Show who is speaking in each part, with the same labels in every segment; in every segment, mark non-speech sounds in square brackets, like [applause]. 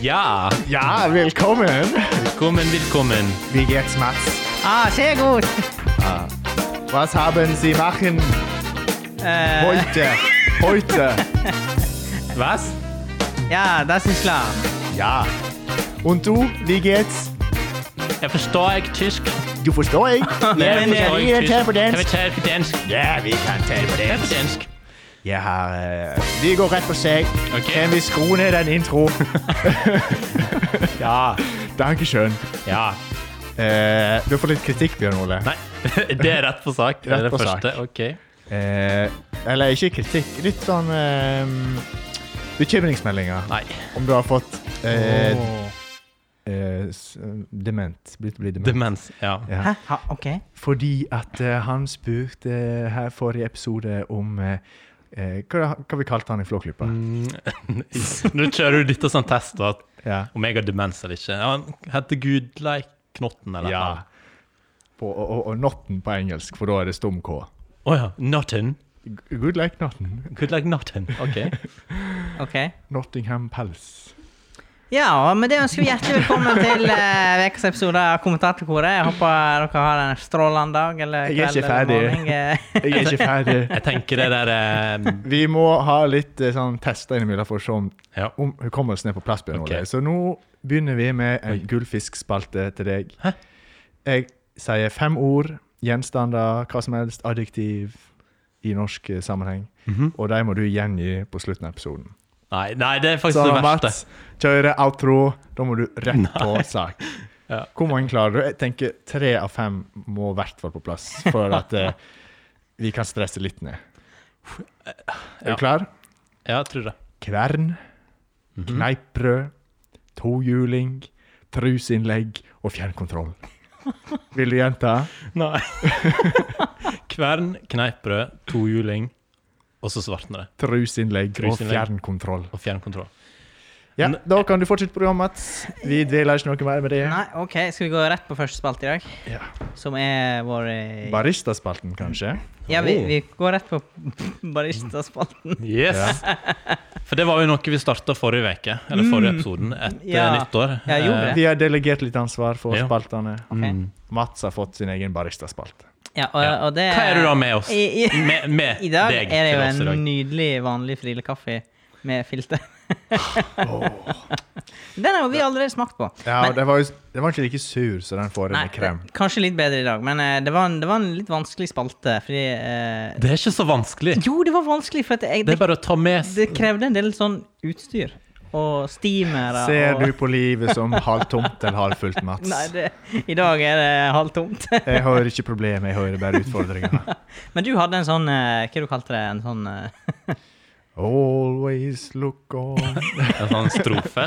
Speaker 1: Ja,
Speaker 2: Ja, willkommen.
Speaker 1: willkommen, willkommen.
Speaker 2: Wie geht's, Mats?
Speaker 3: Ah, sehr gut.
Speaker 2: Was haben Sie machen
Speaker 3: Äh,
Speaker 2: heute? Heute.
Speaker 1: Was?
Speaker 3: ja, das ist klar.
Speaker 2: Ja. Und du, wie geht's?
Speaker 1: Jeg forstår ikke tysk.
Speaker 2: Du forstår ikke?
Speaker 1: jeg forstår
Speaker 2: vi taler på dansk.
Speaker 1: Jeg vil tale på dansk.
Speaker 2: Ja, vi kan tale på
Speaker 1: Tale på dansk.
Speaker 2: Jeg har... øh, vi går ret på sag.
Speaker 1: Okay.
Speaker 2: Kan vi skrue ned den intro?
Speaker 1: Ja,
Speaker 2: Dankeschön.
Speaker 1: ja.
Speaker 2: Uh, du får litt kritikk, Bjørn Ole.
Speaker 1: Nei, [laughs] det er rett på sak. Det
Speaker 2: Rett
Speaker 1: er det
Speaker 2: på sak.
Speaker 1: første. Ok.
Speaker 2: Eh, eller ikke kritikk, litt sånn eh, bekymringsmeldinger.
Speaker 1: Nei.
Speaker 2: Om du har fått eh,
Speaker 1: Åh.
Speaker 2: eh, s- dement. Blitt, blitt dement.
Speaker 1: Demens, ja.
Speaker 2: Ja.
Speaker 3: Hæ? Ha, ok.
Speaker 2: Fordi at eh, han spurte eh, her forrige episode om eh, eh, hva, hva vi kalte han i Flåklypa.
Speaker 1: Nå kjører du dette som test, da.
Speaker 2: Ja.
Speaker 1: Om jeg har demens eller ikke. Ja, han heter Gudleik Knotten, eller
Speaker 2: ja.
Speaker 1: noe.
Speaker 2: På, og, og, og Notten på engelsk, for da er det stum K.
Speaker 1: Å ja. Knotten.
Speaker 2: G- Good like Notten.
Speaker 1: Gudleik Knotten. Ok.
Speaker 3: ok.
Speaker 2: Nottingham Palace.
Speaker 3: Ja, og med det ønsker vi hjertelig velkommen til eh, ukas episode av Kommentatorkoret. Jeg håper dere har en strålende dag eller
Speaker 2: Jeg er
Speaker 3: kveld
Speaker 2: ikke
Speaker 3: eller
Speaker 2: ferdig.
Speaker 3: morgen. Eh,
Speaker 2: Jeg er ikke ferdig. [laughs]
Speaker 1: Jeg tenker det der eh,
Speaker 2: Vi må ha litt eh, sånn tester innimellom for å se om
Speaker 1: Ja.
Speaker 2: om hukommelsen er på plass. Bjørn
Speaker 1: Ok.
Speaker 2: Ole. Så nå begynner vi med en gullfiskspalte til deg.
Speaker 1: Hæ?
Speaker 2: Jeg sier fem ord, gjenstander, hva som helst, adjektiv i norsk eh, sammenheng.
Speaker 1: Mhm.
Speaker 2: Og de må du gjengi på slutten av episoden.
Speaker 1: Nei, nei, det er faktisk
Speaker 2: Så
Speaker 1: det verste.
Speaker 2: Mats, kjøre outro. Da må du rett på sak.
Speaker 1: [laughs] Ja.
Speaker 2: Hvor mange klarer du? Jeg tenker tre av fem må i hvert fall på plass for at eh, vi kan stresse litt ned.
Speaker 1: eh,
Speaker 2: Er du
Speaker 1: Ja.
Speaker 2: klar?
Speaker 1: Ja, jeg tror det.
Speaker 2: kvern,
Speaker 3: Mhm.
Speaker 2: kneippbrød, tohjuling, trusinnlegg og
Speaker 3: [laughs]
Speaker 2: fjernkontroll. Vil du gjenta?
Speaker 1: Nei. [laughs] Kvern, kneippbrød, tohjuling, og så svartner det.
Speaker 2: Trusinnlegg og
Speaker 1: Trusinnlegg.
Speaker 2: fjernkontroll.
Speaker 1: Og fjernkontroll.
Speaker 2: Ja,
Speaker 1: N-
Speaker 2: Da kan du fortsette programmet, Mats. Vi dveler ikke noe mer med det.
Speaker 3: Nei, ok. Skal vi gå rett på første spalte i dag?
Speaker 2: Ja.
Speaker 3: Som er vår eh,
Speaker 2: Baristaspalten, kanskje?
Speaker 3: Ja, vi,
Speaker 1: Oh.
Speaker 3: vi går rett på [laughs] baristaspalten.
Speaker 1: Yes! For det var jo noe vi starta forrige uke, eller forrige episoden, etter
Speaker 3: Ja.
Speaker 1: nyttår. Eh,
Speaker 3: Ja, gjorde det.
Speaker 2: Eh, Vi har delegert litt ansvar for
Speaker 1: Ja.
Speaker 2: spaltene.
Speaker 3: Ok.
Speaker 2: Mats har fått sin egen baristaspalte.
Speaker 3: Ja, og, og det
Speaker 1: Hva er du da med oss?
Speaker 3: I, i,
Speaker 1: Med, med
Speaker 3: I dag
Speaker 1: deg
Speaker 3: er det
Speaker 1: til oss i
Speaker 3: jo en
Speaker 1: dag.
Speaker 3: nydelig, vanlig frilekaffe med
Speaker 1: [laughs]
Speaker 3: filter. Den har vi allerede smakt på.
Speaker 2: Ja,
Speaker 3: Men-
Speaker 2: og det var, jo, det var ikke like sur som den forrige med krem.
Speaker 3: det- kanskje litt bedre i dag, men eh, det, var en, det var en litt vanskelig spalte. Fordi eh,
Speaker 1: Det er ikke så vanskelig.
Speaker 3: Jo, det var vanskelig, for at jeg,
Speaker 1: Det
Speaker 3: det,
Speaker 1: er bare å ta med s-
Speaker 3: det krevde en del sånn utstyr. Og steamere
Speaker 2: Ser du
Speaker 3: og
Speaker 2: på livet som halvtomt eller halvfullt, Mats?
Speaker 3: [laughs] Nei, det, i dag er det halvtomt. [laughs]
Speaker 2: Jeg hører ikke problemet, jeg hører bare utfordringer.
Speaker 3: men du hadde en sånn eh, Hva du kalte det? En sånn eh, [laughs]
Speaker 2: Always look on
Speaker 1: en sånn strofe.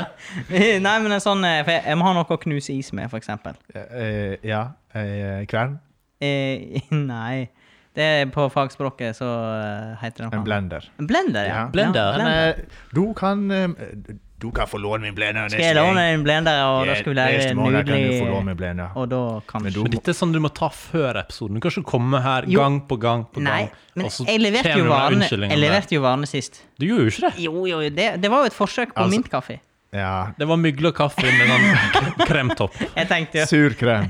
Speaker 3: Nei, men en sånn eh, For jeg, jeg må ha noe å knuse is med, for eksempel.
Speaker 2: eh, Ja, eh, kvern.
Speaker 3: Eh, [laughs] nei. Det er på fagspråket så eh, heter det noe.
Speaker 2: En blender.
Speaker 3: En blender, ja.
Speaker 2: Ja.
Speaker 1: Blender.
Speaker 3: Ja,
Speaker 2: Men eh, du kan eh, Du kan få låne min blender neste
Speaker 3: Skal jeg låne
Speaker 2: gang.
Speaker 3: en blender, og da
Speaker 2: Ja,
Speaker 3: skal vi lære
Speaker 2: Neste måned kan du få låne
Speaker 3: nydelig
Speaker 2: min blender.
Speaker 3: Og da kanskje
Speaker 2: du
Speaker 1: Men dette er sånn du må ta før episoden. Du kan ikke komme her
Speaker 3: Jo.
Speaker 1: gang på gang på
Speaker 3: Nei,
Speaker 1: gang.
Speaker 3: men
Speaker 1: og så
Speaker 3: jeg leverte
Speaker 1: kommer
Speaker 3: jo
Speaker 1: du med
Speaker 3: varene,
Speaker 1: unnskyldninger
Speaker 3: jeg
Speaker 1: om det.
Speaker 3: leverte jo varene sist.
Speaker 1: Du gjorde jo ikke det.
Speaker 3: Jo, jo, jo, det, det var jo et forsøk på
Speaker 2: Altså-
Speaker 3: mintkaffe.
Speaker 2: Ja.
Speaker 1: Det var mygle og kaffe med sånn k- kremtopp.
Speaker 3: Jeg tenkte jo
Speaker 2: Sur krem.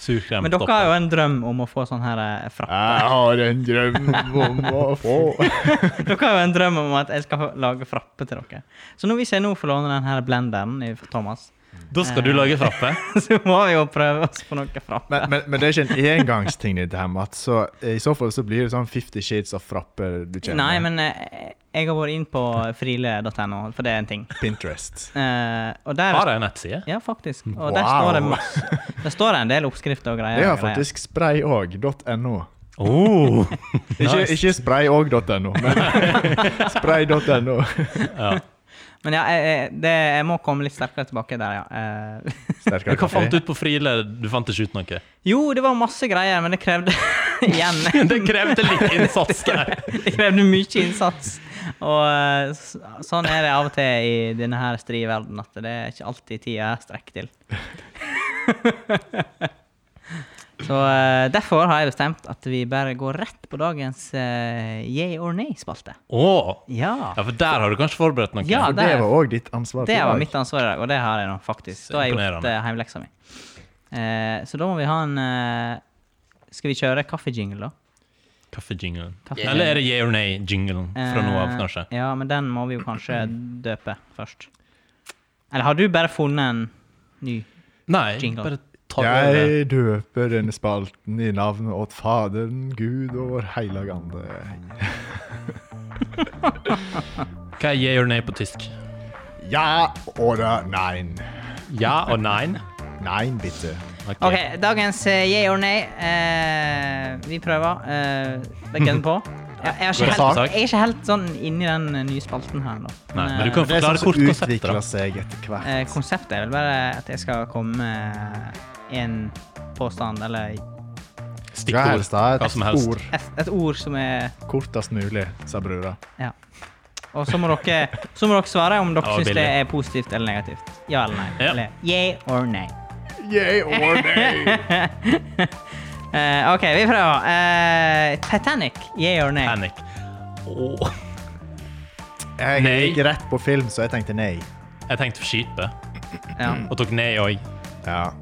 Speaker 1: Sur
Speaker 3: Men dere
Speaker 1: kremtopp.
Speaker 3: har jo en drøm om å få sånn her eh, frapp.
Speaker 2: Jeg har en drøm om å
Speaker 3: [laughs]
Speaker 2: få
Speaker 3: Dere har jo en drøm om at jeg skal få lage frappe til dere. Så nå hvis jeg nå får låne den her blenderen i- fra Thomas, [laughs]
Speaker 1: Da skal du lage frappe.
Speaker 3: så må vi jo prøve oss på noe frappe.
Speaker 2: men, men, men det er ikke en engangsting, dette her, Mats. Så I så fall så blir det sånn 50 Shades of Frappe du kjenner.
Speaker 3: Nei, men eh, jeg har vært inn på frile.no, for det er en ting.
Speaker 2: Pinterest.
Speaker 3: Eh, og
Speaker 1: [laughs]
Speaker 3: der
Speaker 1: Har jeg en nettside?
Speaker 3: Ja, faktisk. Og
Speaker 2: Wow.
Speaker 3: der står det masse. [laughs] Der står det en del oppskrifter og greier.
Speaker 2: Det har
Speaker 3: og greier.
Speaker 2: faktisk spray òg. .no.
Speaker 1: Oh.
Speaker 2: Ikke,
Speaker 1: Nice.
Speaker 2: ikke sprayog.no,
Speaker 3: [laughs]
Speaker 2: men spray.no.
Speaker 3: Men ja, jeg, jeg, det, jeg må komme litt sterkere tilbake der, ja. Eh,
Speaker 1: [laughs] Men Hva fant du ut på Friele? Du fant ikke [laughs] ut noe?
Speaker 3: jo, det var masse greier, men det krevde [laughs]
Speaker 2: [laughs]
Speaker 3: igjen.
Speaker 1: Det krevde litt [laughs] innsats der.
Speaker 3: [laughs] Det krevde mye innsats. Og eh, s- sånn er det av og til i denne her strie verden, at det er ikke alltid tida er strekk til. [laughs] Så eh, derfor har jeg bestemt at vi bare går rett på dagens eh, yeah or nay-spalte.
Speaker 1: Åh!
Speaker 3: Ja.
Speaker 1: Ja, for der har du kanskje forberedt noe?
Speaker 3: Ja,
Speaker 2: For det
Speaker 3: det er-
Speaker 2: var òg ditt ansvar.
Speaker 3: Det
Speaker 2: for i
Speaker 3: var
Speaker 2: dag.
Speaker 3: mitt ansvar i dag, og det har jeg nå faktisk.
Speaker 1: Så
Speaker 3: Da har jeg gjort
Speaker 1: imponerende.
Speaker 3: eh, heimleksa mi. Eh, så da må vi ha en eh, Skal vi kjøre kaffejingle, da?
Speaker 1: Kaffejinglen.
Speaker 3: Kaffe-
Speaker 1: Eller er det yeah or nay-jinglen fra nå av,
Speaker 3: Eh,
Speaker 1: kanskje?
Speaker 3: Ja, men den må vi jo kanskje døpe først. Eller har du bare funnet en ny?
Speaker 1: Nei,
Speaker 3: jingle.
Speaker 1: bare ta det over.
Speaker 2: Jeg døper denne spalten i navnet åt Faderen, Gud og Vår Heilige Ande.
Speaker 1: Hva er yeah or nay på tysk?
Speaker 2: Ja oder nein.
Speaker 1: Ja og nein?
Speaker 2: Nein, bitte.
Speaker 1: Ok.
Speaker 3: OK, dagens eh, yeah or nay. Eh, vi prøver. Eh, det gunner
Speaker 1: [laughs]
Speaker 3: på. Jeg, jeg, er
Speaker 1: Går
Speaker 3: ikke
Speaker 1: det sak?
Speaker 3: helt, jeg er ikke helt sånn inni den eh, nye spalten her nå.
Speaker 1: Nei, men du
Speaker 3: eh,
Speaker 1: kan
Speaker 2: Det er
Speaker 1: forklare
Speaker 2: sånn
Speaker 1: kort
Speaker 2: som
Speaker 1: konseptet.
Speaker 2: utvikler
Speaker 1: da.
Speaker 2: seg etter hvert.
Speaker 3: Eh, konseptet er vel bare at jeg skal komme med en påstand, eller
Speaker 2: Ja, helst
Speaker 1: Stikkord.
Speaker 2: da,
Speaker 1: Hva som helst.
Speaker 2: Ord
Speaker 3: et, et ord som er
Speaker 2: kortest mulig, sa brura.
Speaker 3: Ja. Og så må dere, så må dere svare om
Speaker 1: Det
Speaker 3: dere
Speaker 1: var
Speaker 3: syns
Speaker 1: billig.
Speaker 3: det er positivt eller negativt. Ja eller nei.
Speaker 1: Ja.
Speaker 3: Eller yeah or nay.
Speaker 2: Yeah or nay.
Speaker 3: Eh, OK, vi prøver. Eh, Titanic, yeah or nay?
Speaker 1: Panic. Åh.
Speaker 2: Jeg
Speaker 1: [laughs] Nei.
Speaker 2: gikk rett på film, så jeg tenkte nei.
Speaker 1: Jeg tenkte på skipet,
Speaker 3: Ja.
Speaker 1: og tok nei òg.
Speaker 2: Ja.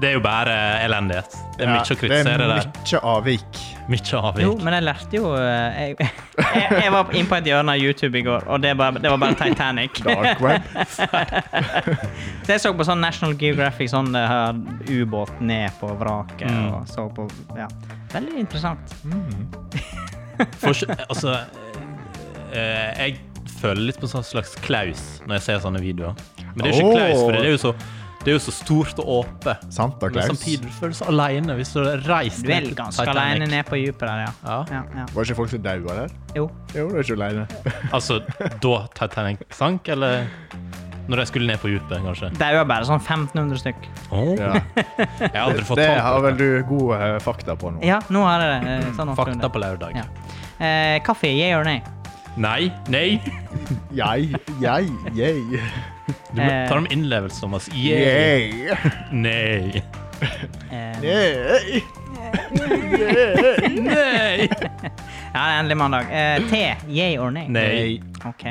Speaker 1: Det er jo bare elendighet. Det er
Speaker 2: Ja,
Speaker 1: mye å kritisere
Speaker 2: Det
Speaker 1: der.
Speaker 2: er mye avvik.
Speaker 1: Mye
Speaker 3: Jo,
Speaker 1: avvik.
Speaker 3: men jeg lærte jo eh, Jeg, [laughs] jeg, jeg var inne på et hjørne av YouTube i går, og det, bare, det var bare Titanic.
Speaker 1: [laughs]
Speaker 2: Dark web.
Speaker 3: Så jeg så på sånn National Geographic, sånn det her ubåt ned på vraket,
Speaker 1: Mm.
Speaker 3: og så på Ja. Veldig interessant.
Speaker 1: For, altså, eh, jeg føler litt på sånn slags klaus når jeg ser sånne videoer. Men det er jo
Speaker 2: Åh.
Speaker 1: ikke klaus, for det er jo så, det er jo så stort og åpent.
Speaker 2: Santa
Speaker 1: Men
Speaker 2: Claus.
Speaker 1: samtidig du føler du deg alene hvis du reiser
Speaker 3: Du er ganske aleine ned på dypet der, ja.
Speaker 1: Ja.
Speaker 3: ja, ja.
Speaker 2: Var ikke folk som daua der?
Speaker 3: Jo.
Speaker 2: Jo, du er ikke aleine.
Speaker 1: Altså, da Titanic sank, eller når de skulle ned på dypet, kanskje?
Speaker 3: Det er jo bare sånn 1500 stykk.
Speaker 2: Ja.
Speaker 1: Jeg har aldri fått
Speaker 2: Det
Speaker 1: tall på
Speaker 2: har vel
Speaker 1: dette.
Speaker 2: du gode eh, fakta på nå.
Speaker 3: Ja, nå har jeg det. eh, Sånn
Speaker 1: Mm. Fakta
Speaker 3: noenlunde.
Speaker 1: på lørdag.
Speaker 3: Ja. Eh, kaffe, yeah or nay?
Speaker 1: Nei, nei!
Speaker 2: Jeg, jeg, jeg.
Speaker 1: Du må
Speaker 3: Eh.
Speaker 1: ta det med innlevelse, Thomas. Yeah.
Speaker 2: Yeah.
Speaker 3: [laughs]
Speaker 1: Nei.
Speaker 3: Eh,
Speaker 2: Yeah.
Speaker 1: Nei!
Speaker 3: ja, det er endelig mandag. Eh, te, yeah or nay?
Speaker 1: Nei.
Speaker 3: Ok.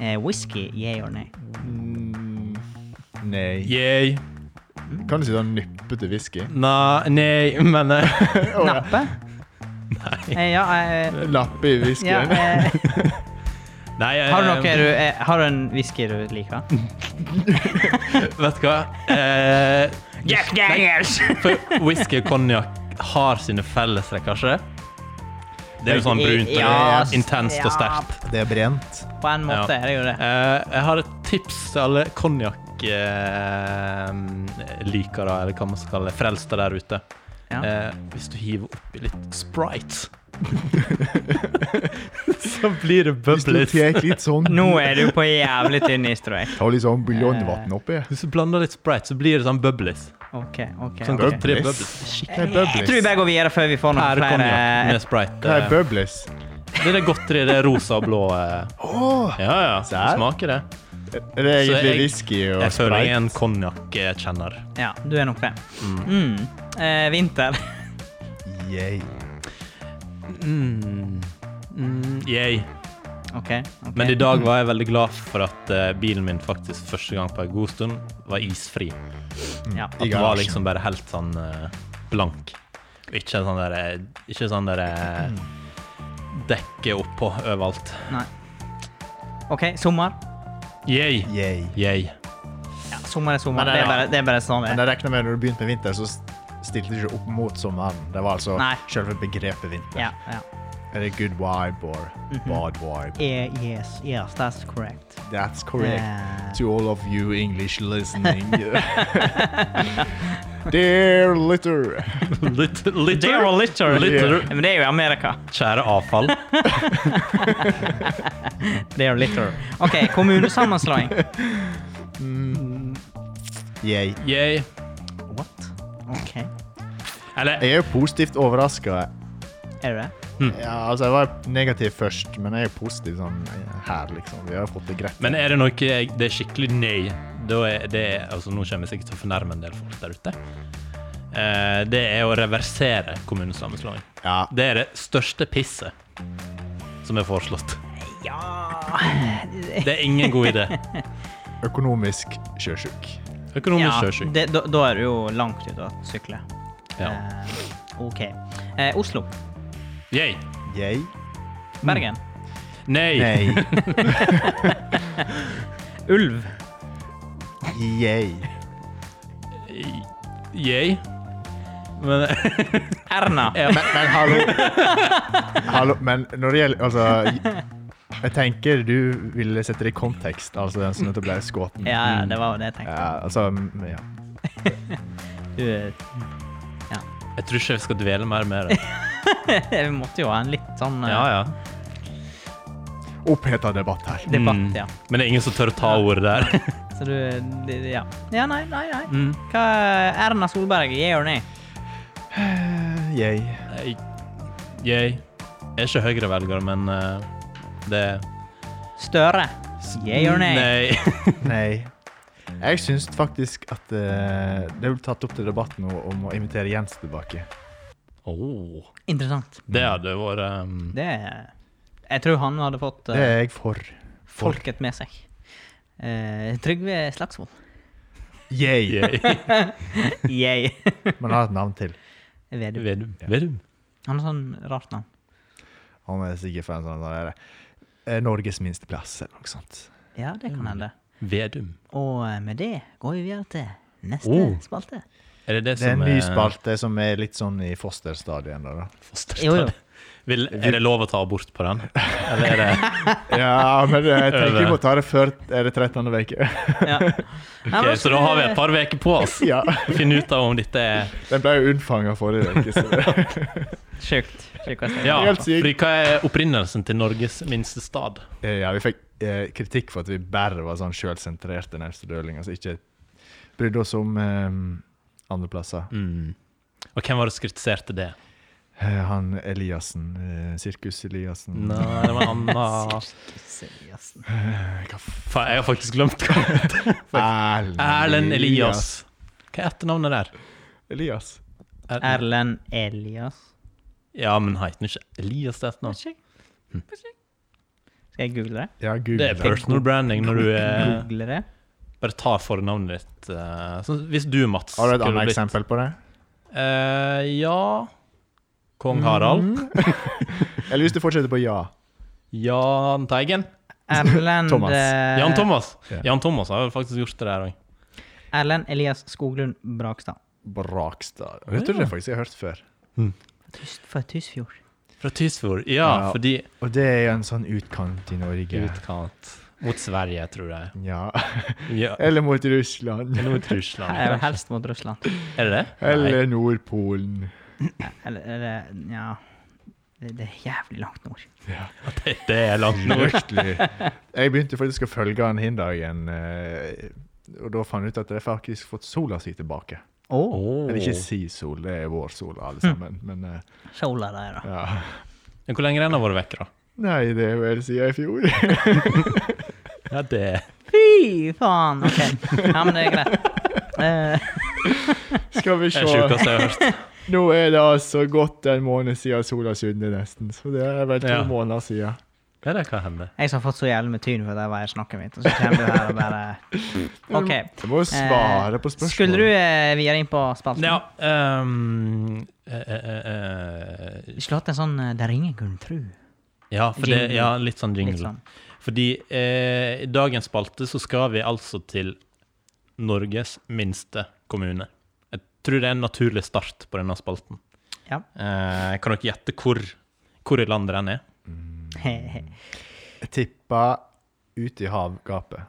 Speaker 3: Eh, whisky, yeah or nay?
Speaker 2: Mm, Nei.
Speaker 1: Yay.
Speaker 2: Kan du si sånn nyppete whisky?
Speaker 1: Na, nei, men eh,
Speaker 2: Å, ja.
Speaker 3: Nappe? Nei. Eh, ja, eh,
Speaker 2: Lappe i
Speaker 3: ja,
Speaker 2: whiskyen.
Speaker 3: eh,
Speaker 1: Nei, [laughs] eh,
Speaker 3: har du noe du eh, Har du en whisky du liker?
Speaker 1: Vet du hva? Eh,
Speaker 3: Jack Daniels!
Speaker 1: [laughs] for whisky og konjakk har sine fellestrekk, kanskje? Det er jo sånn brunt og
Speaker 3: Ja,
Speaker 1: intenst og
Speaker 3: ja.
Speaker 1: sterkt.
Speaker 2: Det er brent.
Speaker 3: På en måte
Speaker 1: Ja.
Speaker 3: er det jo det.
Speaker 1: Eh, jeg har et tips til alle konjakk-likere, eller hva man skal kalle det, frelste der ute.
Speaker 3: Ja.
Speaker 1: Eh, hvis du hiver oppi litt Sprite, [laughs] så blir det
Speaker 2: Hvis du
Speaker 1: bubbles.
Speaker 2: tar litt sånn
Speaker 3: Nå er du på jævlig tynn is, tror jeg.
Speaker 2: Ta litt sånn buljongvann oppi.
Speaker 1: Hvis du blander litt Sprite, så blir det sånn bubbles.
Speaker 3: Ok, ok.
Speaker 1: Sånn
Speaker 3: ok.
Speaker 1: godt tre
Speaker 2: Bubbles.
Speaker 1: bubbles.
Speaker 2: Hva
Speaker 1: Skikkelig
Speaker 2: er
Speaker 3: Jeg tror vi
Speaker 2: bubblies?
Speaker 3: bare går videre før vi får noen
Speaker 1: pære konjakk
Speaker 3: flere
Speaker 1: med Sprite.
Speaker 2: Hva er
Speaker 1: Eh,
Speaker 2: bubblies?
Speaker 1: Det er det godt tre, det er rosa og blå. eh.
Speaker 2: Åh,
Speaker 1: Ja, ja.
Speaker 2: Se her.
Speaker 1: Det smaker det.
Speaker 2: er det
Speaker 1: Så
Speaker 2: egentlig
Speaker 1: jeg-
Speaker 2: whisky og
Speaker 1: Jeg føler jeg er
Speaker 2: sprite?
Speaker 1: en konjakk-kjenner.
Speaker 3: Ja, du er nok det. Mm. Eh, vinter.
Speaker 2: Yay.
Speaker 1: Mm. Mm, yay.
Speaker 3: OK. ok.
Speaker 1: Men i dag var jeg veldig glad for at eh, bilen min faktisk første gang på en god stund var isfri.
Speaker 3: ja.
Speaker 1: At den var
Speaker 2: garasjen.
Speaker 1: liksom bare helt sånn eh, blank. Og Ikke sånn der, eh, ikke sånn der eh, dekke oppå overalt.
Speaker 3: Nei. OK, sommer.
Speaker 1: Yay!
Speaker 2: Yay.
Speaker 1: [laughs] Yay.
Speaker 3: Ja, sommer er sommer.
Speaker 2: Men det
Speaker 3: Det
Speaker 2: er
Speaker 3: er bare, det er bare sånn
Speaker 2: Men
Speaker 3: det er.
Speaker 2: jeg regner med når du begynte med vinter, så stilte du ikke opp mot sommeren. Det var altså
Speaker 3: Nei.
Speaker 2: selve begrepet vinter.
Speaker 3: Ja, Mhm. ja.
Speaker 2: Er det good vibe or bad vibe?
Speaker 3: Eh, yes, yes, that's correct.
Speaker 2: That's correct.
Speaker 3: Eh,
Speaker 2: To all of you English listening.
Speaker 3: [laughs]
Speaker 2: [laughs] Dear litter.
Speaker 1: Litter, litter,
Speaker 3: Dear litter.
Speaker 1: litter.
Speaker 3: Men det er jo i Amerika.
Speaker 1: Kjære avfall.
Speaker 3: Dear litter. OK, kommunesammenslåing.
Speaker 2: Yay.
Speaker 1: Yay.
Speaker 3: What? OK.
Speaker 1: Eller
Speaker 2: Jeg er jo positivt overraska.
Speaker 3: Er det?
Speaker 2: Ja, altså, jeg var negativ først, men jeg er positiv sånn her, liksom. Vi har fått det greit.
Speaker 1: Men er det noe jeg, det er skikkelig nei, da er det altså Nå kommer jeg sikkert til å fornærme en del folk der ute. eh, det er å reversere kommunesammenslåing.
Speaker 2: Ja.
Speaker 1: Det er det største pisset som er foreslått.
Speaker 3: Ja
Speaker 1: Det er ingen god idé.
Speaker 2: Økonomisk sjøsjuk.
Speaker 1: Økonomisk
Speaker 3: [laughs] Ja,
Speaker 1: sjøsjuk.
Speaker 3: det, da, da er du jo langt ute å sykle.
Speaker 1: Ja.
Speaker 3: Eh, OK. Eh, Oslo.
Speaker 1: Yay.
Speaker 2: Jeg?
Speaker 3: Bergen.
Speaker 1: Nei.
Speaker 2: Nei.
Speaker 3: [laughs] Ulv.
Speaker 2: Jeg.
Speaker 1: Yay.
Speaker 3: [laughs]
Speaker 1: Men
Speaker 3: Erna.
Speaker 1: ja,
Speaker 2: Men, men hallo. hallo Men når det gjelder Altså, jeg tenker du ville sette det i kontekst, altså den som nettopp ble skutt.
Speaker 3: Ja,
Speaker 1: Mm.
Speaker 3: ja, det var jo det jeg tenkte.
Speaker 2: Ja, altså mm, ja.
Speaker 3: Du, [laughs] eh,
Speaker 1: jeg tror ikke jeg skal dvele mer med det.
Speaker 3: vi måtte jo ha en litt sånn eh,
Speaker 1: Ja, ja.
Speaker 2: Oppheta debatt her.
Speaker 3: debatt,
Speaker 1: Mm.
Speaker 3: ja.
Speaker 1: Men det er ingen som tør å ta ordet der.
Speaker 3: Så du det- Ja. ja nei, nei, nei.
Speaker 1: Mm.
Speaker 3: Hva Erna Solberg, yeah or nay?
Speaker 2: Eh, Jeg.
Speaker 1: Nei. Yay. Jeg er ikke Høyre-velger, men eh, det
Speaker 3: Støre. Yay or nay?
Speaker 1: Nei.
Speaker 2: Nei. Jeg syns faktisk at eh, det ble tatt opp til debatt nå om å invitere Jens tilbake.
Speaker 1: Åh.
Speaker 3: Interessant.
Speaker 1: det hadde vært um,
Speaker 3: Det er Jeg tror han hadde fått eh,
Speaker 2: Det er jeg for.
Speaker 3: folket med seg. Eh, Trygve
Speaker 1: [laughs]
Speaker 3: Slagsvold.
Speaker 2: Yay.
Speaker 1: Yay.
Speaker 3: Yay.
Speaker 2: Men han har et navn til.
Speaker 3: Vedum.
Speaker 1: [laughs] Vedum. Vedum.
Speaker 3: Han har sånn rart navn.
Speaker 2: Han er sikkert fra en sånn der, eh, Norges minste plass, eller noe sånt.
Speaker 3: Ja, det kan hende.
Speaker 1: Vedum.
Speaker 3: Og eh, med det går vi videre til neste
Speaker 1: Oh.
Speaker 3: spalte.
Speaker 1: Er det det
Speaker 2: Det er
Speaker 1: som eh,
Speaker 2: en ny spalte som er litt sånn i fosterstadiet ennå, da.
Speaker 1: Fosterstad?
Speaker 3: Jo, jo.
Speaker 1: Vil, er det lov å ta abort på den? Eller [laughs] er det
Speaker 2: Ja, men eh,
Speaker 1: [laughs]
Speaker 2: jeg tenker vi
Speaker 1: Øver.
Speaker 2: må ta det før er det 13. uke.
Speaker 1: [laughs]
Speaker 3: Ja. Nei, men
Speaker 1: Ok, Så da har vi et par uker på oss
Speaker 2: [laughs] ja.
Speaker 1: å finne ut av om dette er
Speaker 2: Den ble jo unnfanga forrige uke, så
Speaker 1: [laughs]
Speaker 2: det
Speaker 3: Sjukt. Sjukt.
Speaker 1: Ja,
Speaker 2: Helt sykt.
Speaker 1: fordi hva er opprinnelsen til Norges minste stad?
Speaker 2: Eh, Ja, vi fikk eh, kritikk for at vi bare var sånn sjølsentrerte nærmestedølinger, altså ikke brydde oss om eh, andre plasser.
Speaker 1: Mm. Og hvem var det som kritiserte det?
Speaker 2: Eh, han Eliassen, eh, Sirkus Eliassen
Speaker 1: Nei, det var en [laughs] annen
Speaker 3: Seriøst.
Speaker 2: Eh, hva f-
Speaker 1: Faen, jeg har faktisk glemt hva
Speaker 2: Erlend,
Speaker 1: Erlend Elias. Hva er etternavnet der?
Speaker 2: Elias.
Speaker 1: Er,
Speaker 3: Erlend Elias.
Speaker 1: ja, men heter han ikke Elias til etternavn?
Speaker 3: Vet ikke.
Speaker 1: Hm.
Speaker 3: Vet ikke. Skal jeg google det?
Speaker 2: Ja, Google.
Speaker 1: Det er personal branding når du eh,
Speaker 3: Google det?
Speaker 1: bare tar fornavnet ditt. eh, sånn, hvis du, Mats
Speaker 2: Har du et
Speaker 1: skulle
Speaker 2: annet
Speaker 1: blitt-
Speaker 2: eksempel på det?
Speaker 1: Eh, ja Kong Harald.
Speaker 2: Eller hvis du fortsetter på ja.
Speaker 1: Jan Teigen.
Speaker 3: Erlend
Speaker 2: Thomas.
Speaker 3: eh,
Speaker 1: Jan Thomas.
Speaker 2: ja.
Speaker 1: Jan Thomas har vel faktisk gjort det der òg.
Speaker 3: Erlend Elias Skoglund Brakstad.
Speaker 2: Brakstad. Det tror jeg faktisk jeg har hørt før.
Speaker 3: Tys- Fra Tysfjord.
Speaker 1: Fra Tysfjord. Ja,
Speaker 2: Ja.
Speaker 1: fordi
Speaker 2: Og det er jo en sånn utkant i Norge.
Speaker 1: Utkant. Mot Sverige, tror jeg.
Speaker 2: Ja. [laughs]
Speaker 1: Ja.
Speaker 2: Eller mot Russland.
Speaker 1: Eller mot
Speaker 3: Jeg vil
Speaker 1: Russland.
Speaker 3: helst mot Russland.
Speaker 1: Er det det? Nei.
Speaker 2: Eller Nordpolen.
Speaker 3: Eller, eller ja det, det er jævlig langt nord.
Speaker 1: Det, det er langt nord.
Speaker 2: Virkelig. [laughs] Jeg begynte faktisk å følge han hin dagen, eh, og da fant jeg ut at jeg faktisk fått sola si tilbake.
Speaker 3: Oh.
Speaker 1: Oh.
Speaker 2: Eller ikke si sol, det er vår sol, alle
Speaker 1: [laughs]
Speaker 2: sammen. Men eh,
Speaker 3: Sola der, da.
Speaker 2: ja.
Speaker 1: Men Hvor lenge har den vært vekk, da?
Speaker 2: Nei, det er vel siden i fjor.
Speaker 1: [laughs] Ja, det
Speaker 3: Fy faen! OK. Ja, men det er greit. Eh,
Speaker 2: Skal
Speaker 1: er
Speaker 2: vi
Speaker 1: det
Speaker 2: se.
Speaker 1: sjukeste jeg har hørt.
Speaker 2: Nå er det altså gått en måned siden sola skinner, nesten. Så det er vel to
Speaker 1: Ja.
Speaker 2: måneder siden.
Speaker 1: Ja, det kan hende.
Speaker 3: jeg som har fått så jævlig med tyn for det var jeg snakket mitt, og så kommer du her og bare OK.
Speaker 2: Jeg må jo svare på spørsmål.
Speaker 3: Skulle du eh, videre inn på spalten?
Speaker 1: Ja ehm, eh, eh, eh,
Speaker 3: Vi skulle hatt en sånn eh, der ingen kunne tru.
Speaker 1: Ja, for det,
Speaker 3: Jingle.
Speaker 1: ja litt sånn jingle.
Speaker 3: Litt sånn.
Speaker 1: Fordi eh, i dagens spalte så skal vi altså til Norges minste kommune. Jeg tror det er en naturlig start på denne spalten.
Speaker 3: Ja.
Speaker 1: Eh, kan dere gjette hvor, hvor i landet den er?
Speaker 3: Det
Speaker 2: Jeg tippa ut i havgapet.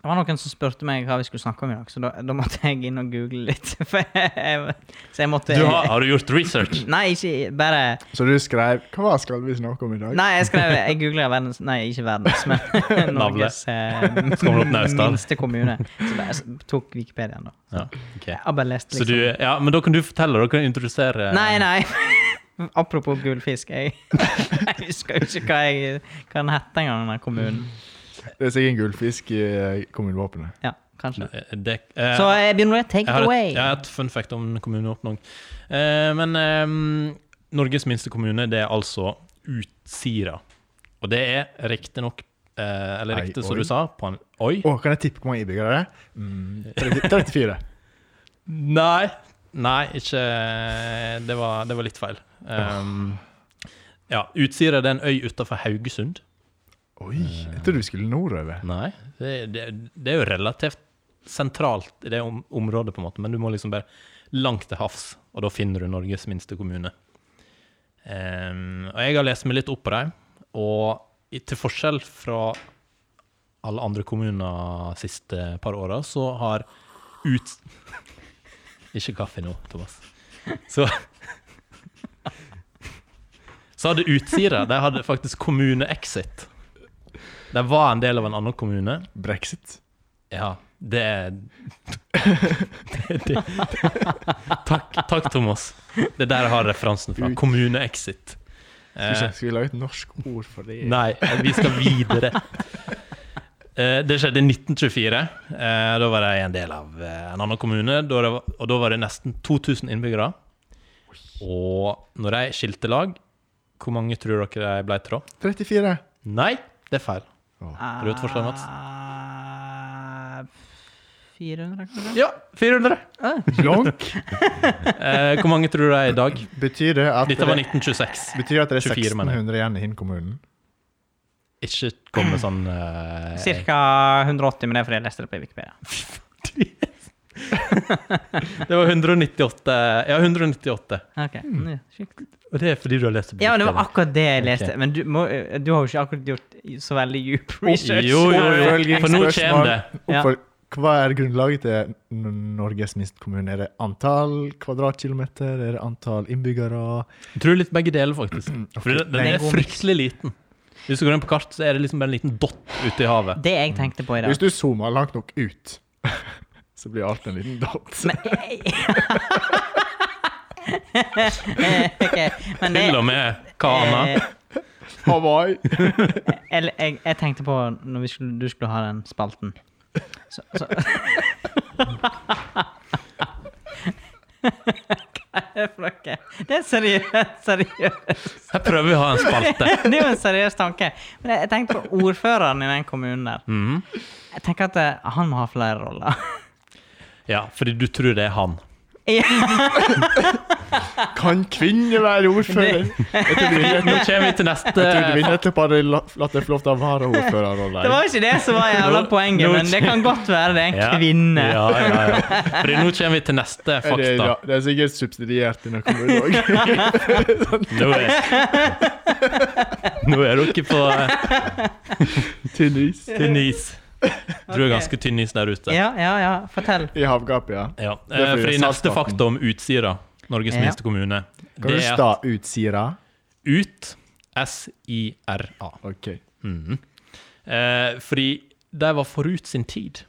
Speaker 3: var noen som spurte meg hva vi skulle snakke om i dag, så da, da måtte jeg inn og google litt. [laughs] For jeg, så jeg måtte
Speaker 1: Du har, har du gjort research?
Speaker 3: Nei, ikke bare
Speaker 2: Så du skrev Hva skal vi snakke om i dag?
Speaker 3: Nei, jeg skrev Jeg googla verdens Nei, ikke verdens,
Speaker 1: [laughs]
Speaker 3: men [laughs] Norges eh,
Speaker 1: Skal vi opp Naustdal?
Speaker 3: minste kommune. Så bare s- tok Wikipediaen, da.
Speaker 1: Ja, ok.
Speaker 3: Jeg har bare lest,
Speaker 1: Så
Speaker 3: liksom.
Speaker 1: du, eh, ja, men da kan du fortelle, da kan du introdusere
Speaker 3: Nei, [laughs] nei. Apropos gullfisk. Jeg, [laughs] jeg husker jo ikke hva, jeg, hva den het engang, den kommunen.
Speaker 2: Det er sikkert en gullfisk i eh, kommunevåpenet.
Speaker 3: Ja, kanskje.
Speaker 1: Det, eh,
Speaker 3: Så jeg begynner å take
Speaker 1: jeg
Speaker 3: it
Speaker 1: har,
Speaker 3: away.
Speaker 1: et, jeg har et fun fact om kommuneoppnåing. Eh, men eh, Norges minste kommune, det er altså Utsira. Og det er riktignok eh, Eller
Speaker 2: Ei,
Speaker 1: riktig, som
Speaker 2: oi.
Speaker 1: du sa, på en Oi?
Speaker 2: Å, kan jeg tippe hvor mange innbyggere det er? Mm, 30
Speaker 1: [laughs]
Speaker 2: 34.
Speaker 1: Nei. Nei, ikke eh, Det var, det var litt feil. Um, ja, Utsira det er en øy utafor Haugesund.
Speaker 2: Oi,
Speaker 1: Eh.
Speaker 2: jeg trodde vi skulle nordover.
Speaker 1: Nei. Det, det, det er jo relativt sentralt i det om, området, på en måte, men du må liksom bare langt til havs, og da finner du Norges minste kommune. Um, og jeg har lest meg litt opp på dem, og i, til forskjell fra alle andre kommuner siste par åra, så har ut... [laughs] Ikke kaffe nå, Thomas. Så [laughs] Så hadde Utsira De hadde faktisk kommune-exit. De var en del av en annen kommune.
Speaker 2: Brexit.
Speaker 1: Ja, det er [laughs] det, det. Takk, takk, Thomas. Det er der jeg har referansen fra.
Speaker 2: Ut.
Speaker 1: Kommune-exit.
Speaker 2: Skal vi,
Speaker 1: Eh,
Speaker 2: se, skal vi lage et norsk ord for det?
Speaker 1: Nei, vi skal videre. Eh, Det skjedde i 1924. Eh, Da var jeg en del av eh, en annen kommune, da det var- og da var det nesten 2000 innbyggere. Og når de skilte lag, hvor mange tror dere de ble til da?
Speaker 2: 34.
Speaker 1: Nei, det er feil.
Speaker 3: Har
Speaker 1: du et forslag, Mats?
Speaker 3: 400, Ah, kanskje?
Speaker 1: Ja, 400. [laughs]
Speaker 2: Blank
Speaker 1: Eh, Hvor mange tror du de er i dag?
Speaker 2: betyr det at
Speaker 1: Dette var
Speaker 2: det,
Speaker 1: 1926.
Speaker 2: betyr at det er
Speaker 1: 24, mener jeg.
Speaker 2: 1600 igjen i Hinn kommunen.
Speaker 1: Ikke komme sånn eh,
Speaker 3: Cirka 180, men det er fordi jeg leste det på Wikipedia.
Speaker 1: Det var 198. Ja, 198.
Speaker 3: Ok,
Speaker 1: Hmm.
Speaker 3: ja, sjukt.
Speaker 1: Og det er fordi du har lest
Speaker 3: Ja, men det var akkurat det jeg leste.
Speaker 1: Ok.
Speaker 3: Men du, må, eh, du har jo ikke akkurat gjort så veldig djup research.
Speaker 1: Jo, jo, jo. For nå kommer det.
Speaker 3: Ja.
Speaker 2: Oppfor, hva er grunnlaget til N- Norges minste kommune? Er det antall kvadratkilometer? Er det antall innbyggere?
Speaker 1: Jeg tror litt begge deler, faktisk. For den, den
Speaker 2: Nei,
Speaker 1: er fryktelig liten. Hvis du går inn på kart, så er det liksom bare en liten dott ute i havet.
Speaker 3: Det jeg tenkte på i dag
Speaker 2: Hvis du zoomer langt nok ut, [laughs] så blir alt en liten dott.
Speaker 3: [laughs] Ok, men det,
Speaker 1: Til og med Kana.
Speaker 3: eh,
Speaker 2: Hawaii!
Speaker 3: jeg, jeg, jeg tenkte på når vi skulle, du skulle ha den spalten. Så, så. [laughs] Hva er det for noe? Det er seriøst. seriøst.
Speaker 1: Her prøver vi å ha en spalte.
Speaker 3: [laughs] Det er jo en seriøs tanke. Men jeg, jeg tenkte på ordføreren i den kommunen der.
Speaker 1: Mhm.
Speaker 3: Jeg tenker at eh, han må ha flere roller. [laughs]
Speaker 1: Ja, fordi du tror det er han.
Speaker 2: Kan kvinner være
Speaker 3: [laughs]
Speaker 2: ordfører? Jeg trodde vi
Speaker 1: Nå
Speaker 2: nett-
Speaker 1: kommer vi til neste.
Speaker 2: jeg trodde vi nettopp hadde la- latt deg få lov til å ha varaordførerrolle.
Speaker 3: Det var jo ikke det som var jævla
Speaker 1: Nå-
Speaker 3: poenget,
Speaker 1: nå-
Speaker 3: men det kan godt være det er
Speaker 1: Ja.
Speaker 3: en kvinne.
Speaker 1: Ja, ja, ja. Fordi nå kommer vi til neste
Speaker 2: Er det,
Speaker 1: fakta.
Speaker 2: ja, det er sikkert subsidiert i noen kommuner òg.
Speaker 3: [laughs]
Speaker 1: Nå er, nå er dere på eh,
Speaker 2: Tynn is.
Speaker 1: tynn is. Du er
Speaker 3: Ok.
Speaker 1: ganske tynn is der ute.
Speaker 3: Ja, ja, ja. Fortell.
Speaker 2: I havgapet, ja.
Speaker 1: Ja.
Speaker 2: Det er
Speaker 1: eh,
Speaker 2: fordi
Speaker 1: Fordi
Speaker 2: det er
Speaker 1: neste
Speaker 2: saltvann.
Speaker 1: fakta om Utsira, Norges
Speaker 3: Ja.
Speaker 1: minste kommune,
Speaker 2: Kan
Speaker 1: det
Speaker 2: du
Speaker 1: er
Speaker 2: sta ut Sira?
Speaker 1: Ut. S-I-R-A.
Speaker 2: OK.
Speaker 1: Mhm. Eh, fordi de var forut sin tid.